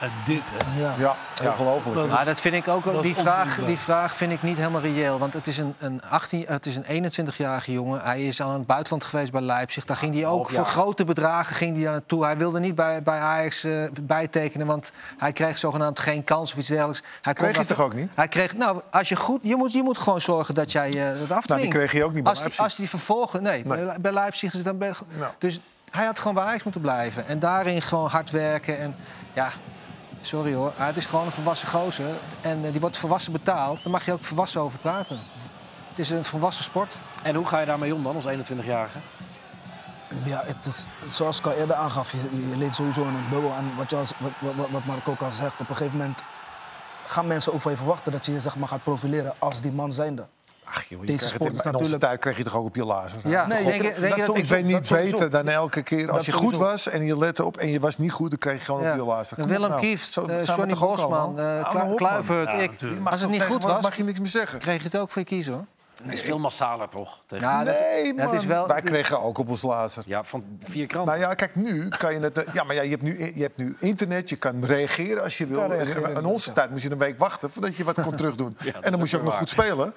Speaker 5: En dit, hè.
Speaker 3: ja, ongelooflijk.
Speaker 4: Maar dat vind ik ook,
Speaker 5: Dat
Speaker 4: die
Speaker 5: is
Speaker 4: vraag,
Speaker 5: ondoenbaar.
Speaker 4: die vraag vind ik niet helemaal reëel. Want het is een, een, 18 het is een 21-jarige jongen. Hij is al in het buitenland geweest bij Leipzig. Daar ging hij
Speaker 1: half
Speaker 4: ook
Speaker 1: jaar.
Speaker 4: voor grote bedragen ging hij daar naartoe. Hij wilde niet bij, bij Ajax eh, bijtekenen, want hij kreeg zogenaamd geen kans of iets dergelijks. Hij kon
Speaker 3: Kreeg hij
Speaker 4: daar-
Speaker 3: toch ook niet?
Speaker 4: Hij kreeg, nou, als je goed, je moet, je moet gewoon zorgen dat jij eh dat afdwingt.
Speaker 3: Nou, kreeg hij ook niet bij
Speaker 4: als, die,
Speaker 3: Leipzig.
Speaker 4: als die vervolgen, nee,
Speaker 3: Nee.
Speaker 4: bij- bij Leipzig is het dan... Bij,
Speaker 3: Nou.
Speaker 4: Dus hij had gewoon bij Ajax moeten blijven. En daarin gewoon hard werken en ja... Sorry hoor, ah, het is gewoon een volwassen gozer. En eh, die wordt volwassen betaald. Daar mag je ook volwassen over praten. Het is een volwassen sport.
Speaker 1: En hoe ga je daarmee om dan als 21-jarige?
Speaker 2: Ja, het is, zoals ik al eerder aangaf, je, je leeft sowieso in een bubbel. En wat, je als, wat, wat- wat, wat Mark ook al zegt, op een gegeven moment gaan mensen ook van je verwachten dat je je zeg maar, gaat profileren als die man zijnde.
Speaker 3: Ach, joh,
Speaker 2: Deze
Speaker 3: je krijgt het
Speaker 2: sport
Speaker 3: in-
Speaker 2: is
Speaker 3: In onze
Speaker 2: natuurlijk-
Speaker 3: tijd kreeg je toch ook op je lazen.
Speaker 4: Ja,
Speaker 2: nee,
Speaker 4: denk, je-
Speaker 2: dat-
Speaker 4: denk je
Speaker 2: dat
Speaker 4: dat
Speaker 3: Ik
Speaker 2: sowieso,
Speaker 3: weet niet
Speaker 2: sowieso.
Speaker 3: beter dan elke keer. Als je goed
Speaker 2: sowieso.
Speaker 3: was en je lette op en je was niet goed, dan kreeg je gewoon op je lazen. Kom op
Speaker 4: Willem
Speaker 3: nou.
Speaker 4: Kieft,
Speaker 3: Zo
Speaker 4: eh,
Speaker 3: zijn we
Speaker 4: Johnny
Speaker 3: toch ook allemaal?
Speaker 4: Bosman, eh,
Speaker 3: Hou
Speaker 4: Klu-
Speaker 3: nou op, man.
Speaker 4: Kluivert,
Speaker 5: Ja,
Speaker 4: ik.
Speaker 5: natuurlijk.
Speaker 3: Mag
Speaker 4: Als het
Speaker 3: toch
Speaker 4: niet goed
Speaker 3: tegenwoordig
Speaker 4: was,
Speaker 3: Mag je niks meer zeggen.
Speaker 4: kreeg je het ook voor je kiezen hoor.
Speaker 1: Het is veel massaler toch? Tegen-
Speaker 4: Ja, dat-
Speaker 3: Nee,
Speaker 4: dat
Speaker 3: man.
Speaker 4: is wel-
Speaker 3: Wij kregen ook op ons lazen.
Speaker 1: Ja, van vier kranten.
Speaker 3: Nou ja, kijk, nu kan je het... eh, Ja, maar ja, je, hebt nu, je hebt nu internet, je kan reageren als je wil.
Speaker 2: kan reageren,
Speaker 3: In onze
Speaker 2: ja.
Speaker 3: tijd moest je een week wachten voordat je wat kon terugdoen. en
Speaker 1: dat
Speaker 3: dan
Speaker 1: is
Speaker 3: moest je ook nog
Speaker 1: waar.
Speaker 3: goed spelen.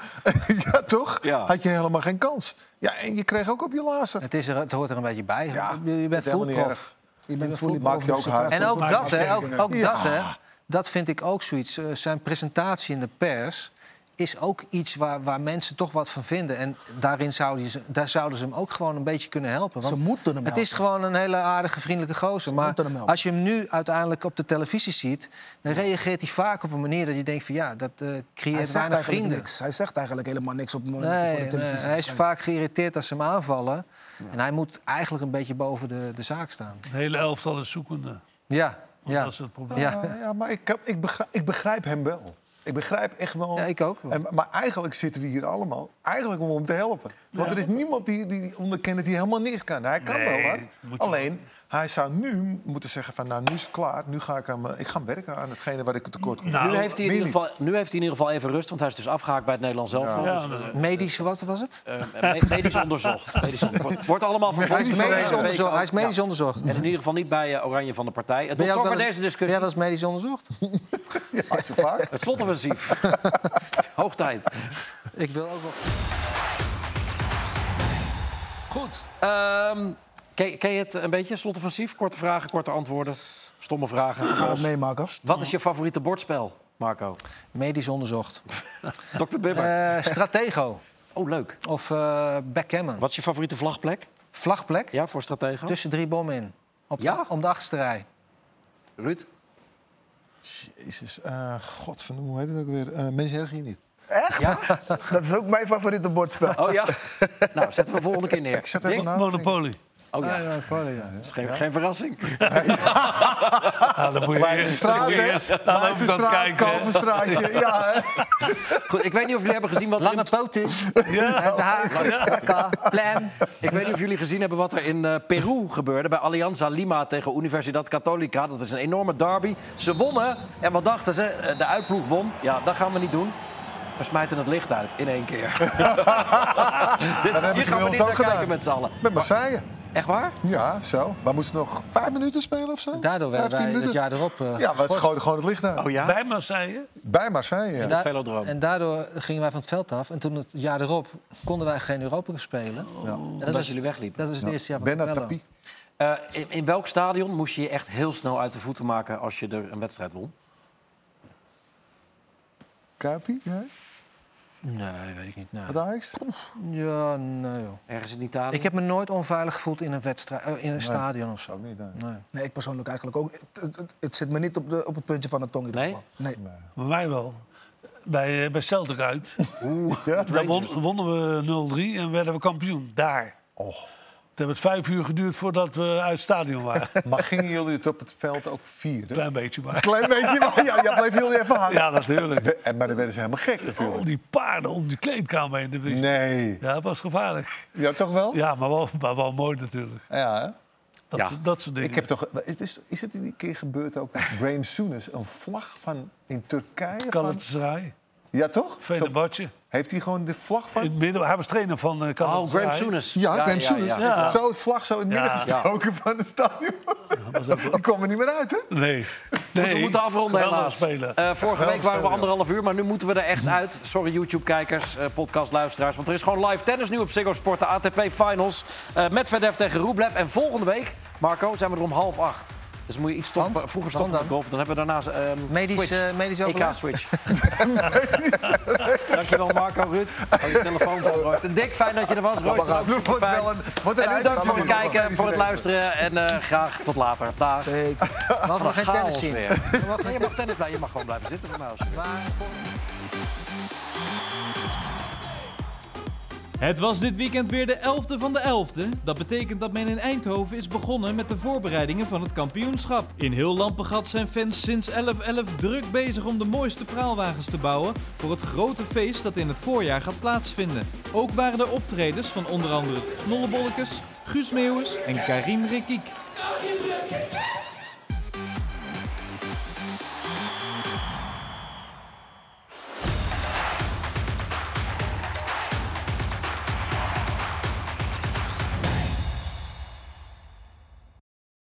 Speaker 3: ja, toch?
Speaker 1: Ja.
Speaker 3: Had je helemaal geen kans. Ja, en je kreeg ook op je lazen.
Speaker 4: het, is er, het hoort er een beetje bij.
Speaker 3: Ja,
Speaker 4: je, je bent
Speaker 3: helemaal niet
Speaker 4: voetprof.
Speaker 3: erg.
Speaker 2: Je bent
Speaker 3: voetbal, maak je ook hard.
Speaker 4: En ook
Speaker 5: Maar
Speaker 4: dat,
Speaker 5: dat
Speaker 4: hè,
Speaker 5: denk
Speaker 4: ook,
Speaker 5: ik
Speaker 4: ook dat, hè, dat vind ik ook zoiets. Eh, Zijn presentatie in de pers is ook iets waar, waar mensen toch wat van vinden. En daarin zouden ze, daar zouden ze hem ook gewoon een beetje kunnen helpen.
Speaker 2: Ze
Speaker 4: Want
Speaker 2: moeten hem
Speaker 4: het is
Speaker 2: helpen.
Speaker 4: gewoon een hele aardige, vriendelijke gozer. Maar
Speaker 2: moeten hem helpen.
Speaker 4: als je hem nu uiteindelijk op de televisie ziet... dan reageert hij vaak op een manier dat je denkt van... ja, dat eh,
Speaker 2: Hij
Speaker 4: creëert
Speaker 2: zegt
Speaker 4: weinig
Speaker 2: eigenlijk
Speaker 4: vrienden.
Speaker 2: niks. Hij zegt eigenlijk helemaal niks op het moment dat hij
Speaker 4: Nee,
Speaker 2: voor de
Speaker 4: nee,
Speaker 2: televisie
Speaker 4: hij is
Speaker 2: verschijnt.
Speaker 4: vaak geïrriteerd als ze hem aanvallen. En hij moet eigenlijk een beetje boven de, de zaak staan.
Speaker 5: Het hele elftal is zoekende.
Speaker 4: Ja,
Speaker 5: Want
Speaker 4: ja,
Speaker 5: Dat is het probleem.
Speaker 4: ja.
Speaker 3: Ja, Eh, ja, maar ik, ik, begrijp, ik begrijp hem wel. Ik begrijp echt wel.
Speaker 4: Ja, ik ook wel.
Speaker 3: En, maar eigenlijk zitten we hier allemaal eigenlijk om hem te helpen. Want er is niemand die, die die onderkent die helemaal niks kan. Hij kan
Speaker 5: Nee,
Speaker 3: wel wat.
Speaker 5: moet je-
Speaker 3: Alleen, hij zou nu moeten zeggen van... nou, nu is het klaar. Nu ga ik, aan, mijn- ik ga werken aan hetgene waar ik tekort kom.
Speaker 5: Nou,
Speaker 1: nu, heeft hij in
Speaker 3: meer
Speaker 1: ieder geval, nu heeft hij in ieder geval even rust, want hij is dus afgehaakt bij het Nederlands zelf.
Speaker 5: Ja,
Speaker 1: Dus,
Speaker 5: maar-
Speaker 4: Medisch, wat was het?
Speaker 1: eh, me- medisch onderzocht. Medisch onderzocht. Wordt allemaal vervolgd.
Speaker 4: Hij is
Speaker 1: Deze
Speaker 4: medisch
Speaker 1: week
Speaker 4: onderzocht.
Speaker 1: ook.
Speaker 4: Hij is medisch
Speaker 1: Ja.
Speaker 4: onderzocht.
Speaker 1: En in ieder geval niet bij eh, Oranje van de Partij. Eh,
Speaker 4: Ben
Speaker 1: Tot
Speaker 4: jij ook
Speaker 1: zover
Speaker 4: wel eens-
Speaker 1: deze discussie.
Speaker 4: Ja, dat is medisch onderzocht.
Speaker 3: Had je vaak.
Speaker 1: Het slotoffensief. Hoog tijd.
Speaker 4: Ik wil ook wel.
Speaker 1: Goed. ehm, ken, ken je het een beetje, slotoffensief? Korte vragen, korte antwoorden. Stomme vragen.
Speaker 2: Gaan we het meemaken.
Speaker 1: Wat is je favoriete bordspel, Marco?
Speaker 4: Medisch onderzocht.
Speaker 1: Dr. Bibber.
Speaker 4: Eh, stratego
Speaker 1: oh, leuk.
Speaker 4: of eh, backgammon.
Speaker 1: Wat is je favoriete vlagplek?
Speaker 4: Vlagplek
Speaker 1: Ja, voor strategen?
Speaker 4: tussen drie bommen in. Op
Speaker 1: Ja?
Speaker 4: Om de achterste rij.
Speaker 1: Ruud?
Speaker 3: Jezus, eh god van hoe heet het ook weer? Eh, mensen zeggen hier niet.
Speaker 1: Ja?
Speaker 2: Dat is ook mijn favoriete bordspel.
Speaker 1: Oh ja? Nou, zetten we volgende keer neer.
Speaker 3: Ik zet even
Speaker 1: Ding?
Speaker 3: na.
Speaker 5: Monopoly.
Speaker 1: Oh ja, dat is geen, geen verrassing.
Speaker 5: Ja, dan moet je
Speaker 3: Leidsestraat,
Speaker 5: dan moet je
Speaker 3: hè?
Speaker 5: eerst aan de overkant
Speaker 3: Leidsestraat,
Speaker 5: kijken. hè.
Speaker 3: Kalverstraatje. Ja, hè?
Speaker 1: Goed, ik weet niet of jullie hebben gezien wat... er in-
Speaker 4: Lange poten. Ja. De haak. Plan.
Speaker 1: Ik weet niet of jullie gezien hebben wat er in eh, Peru gebeurde... bij Alianza Lima tegen Universidad Católica. Dat is een enorme derby. Ze wonnen. En wat dachten ze? Eh, De uitploeg won. Ja, dat gaan we niet doen. We smijten het licht uit in één keer. Dit,
Speaker 3: hebben
Speaker 1: hier
Speaker 3: ze
Speaker 1: gaan
Speaker 3: bij
Speaker 1: we
Speaker 3: ons
Speaker 1: niet
Speaker 3: ook
Speaker 1: naar
Speaker 3: gedaan.
Speaker 1: kijken met z'n allen.
Speaker 3: Met Marseille.
Speaker 1: Echt waar?
Speaker 3: Ja, zo. Maar moesten nog vijf minuten spelen of zo?
Speaker 4: Daardoor werden
Speaker 3: 15
Speaker 4: wij het
Speaker 3: minuten?
Speaker 4: jaar erop. eh,
Speaker 3: Ja, maar het schoten gewoon het licht uit.
Speaker 1: Oh ja?
Speaker 5: Bij Marseille.
Speaker 3: Bij Marseille, ja.
Speaker 4: da-
Speaker 1: velodroom.
Speaker 4: en daardoor gingen wij van het veld af. En toen het jaar erop konden wij geen Europa Cup spelen. En dat,
Speaker 1: Oh. Omdat
Speaker 4: was,
Speaker 1: jullie wegliepen.
Speaker 4: dat is het eerste jaar van
Speaker 3: Bernard
Speaker 4: Capello.
Speaker 3: Tapie.
Speaker 1: Eh, in, in welk stadion moest je je echt heel snel uit de voeten maken... als je er een wedstrijd won?
Speaker 3: Kuipie, ja.
Speaker 4: Nee, weet ik niet. Nee.
Speaker 3: Wat Ajax? Oh,
Speaker 4: Ja, nee joh.
Speaker 1: Ergens in Italië?
Speaker 4: Ik heb me nooit onveilig gevoeld in een, wedstrijd, eh, in een stadion of zo.
Speaker 3: Ook niet, nee.
Speaker 4: Nee.
Speaker 2: Nee, ik persoonlijk eigenlijk ook. Het, het- het zit me niet op, de, op het puntje van de tong in ieder
Speaker 1: Nee?
Speaker 2: geval. Nee?
Speaker 5: Bij mij wel. bij, eh, bij Celtic uit.
Speaker 3: Ja?
Speaker 5: Daar won- wonnen we 0-3 en werden we kampioen. Daar.
Speaker 3: Och.
Speaker 5: Het heeft vijf uur geduurd voordat we uit het stadion waren.
Speaker 3: Maar gingen jullie het op het veld ook vieren?
Speaker 5: Klein beetje maar.
Speaker 3: Klein beetje, maar ja, ja, bleven jullie even hangen.
Speaker 5: Ja, natuurlijk.
Speaker 3: We- en, maar dan werden ze helemaal gek
Speaker 5: Al
Speaker 3: natuurlijk.
Speaker 5: die paarden om die kleedkamer heen. dat wist je.
Speaker 3: Nee.
Speaker 5: Ja, dat was gevaarlijk.
Speaker 3: Ja, toch wel?
Speaker 5: Ja, maar wel, maar wel mooi natuurlijk.
Speaker 3: Ja, hè?
Speaker 5: Dat,
Speaker 1: Ja.
Speaker 5: dat soort dingen.
Speaker 3: Ik heb toch, is, is, is het die keer gebeurd ook dat Graham Souness een vlag van in Turkije?
Speaker 5: kan
Speaker 3: Van,
Speaker 5: het draaien.
Speaker 3: ja, toch? Zo-
Speaker 5: Fenerbahce.
Speaker 3: heeft hij gewoon de vlag
Speaker 5: In
Speaker 3: van...
Speaker 5: het midden, hij was trainer van eh
Speaker 1: Oh, Graham Souness.
Speaker 3: ja, Graham Souness.
Speaker 1: ja.
Speaker 5: Ja.
Speaker 3: Zo het vlag zo in het midden
Speaker 5: Ja.
Speaker 3: gestoken van het stadion. Die kwam er niet meer uit, hè?
Speaker 5: Nee. nee.
Speaker 1: We moeten afronden
Speaker 5: Geweldig
Speaker 1: helaas.
Speaker 5: spelen.
Speaker 1: Eh, vorige week waren we
Speaker 3: spelen,
Speaker 1: anderhalf uur, maar nu moeten we er echt uit. Sorry YouTube-kijkers, eh, podcastluisteraars. Want er is gewoon live tennis nu op Ziggo Sport. De ATP Finals Eh, met Medvedev tegen Rublev. En volgende week, Marco, zijn we er om half acht. Dus moet je iets stoppen.
Speaker 4: Want?
Speaker 1: Vroeger stoppen
Speaker 4: Dan
Speaker 1: met golf. Dan hebben we daarnaast ehm
Speaker 4: Medisch,
Speaker 1: switch.
Speaker 4: eh, medisch overleg?
Speaker 1: EK-switch. Dankjewel Marco, Ruud. Oh, je telefoon van Royce. En Dick, fijn dat je er was. Royce,
Speaker 3: gaan-
Speaker 1: ook
Speaker 3: dit wordt
Speaker 1: super fijn.
Speaker 3: wel een- wordt een
Speaker 1: En u dank voor het
Speaker 3: uitzending.
Speaker 1: kijken, voor het luisteren. En eh, graag tot later. Dag.
Speaker 4: Zeker. We mogen geen tennis
Speaker 1: Chaos
Speaker 4: zien.
Speaker 1: weer. Nee, je mag tennis blijven. Je mag gewoon blijven zitten voor mij als je wil.
Speaker 9: Het was dit weekend weer de 11e van de 11e. Dat betekent dat men in Eindhoven is begonnen met de voorbereidingen van het kampioenschap. In heel Lampengat zijn fans sinds 11.11 druk bezig om de mooiste praalwagens te bouwen voor het grote feest dat in het voorjaar gaat plaatsvinden. Ook waren er optredens van onder andere Snollebollekes, Guus Meeuwis en Karim Rekiek.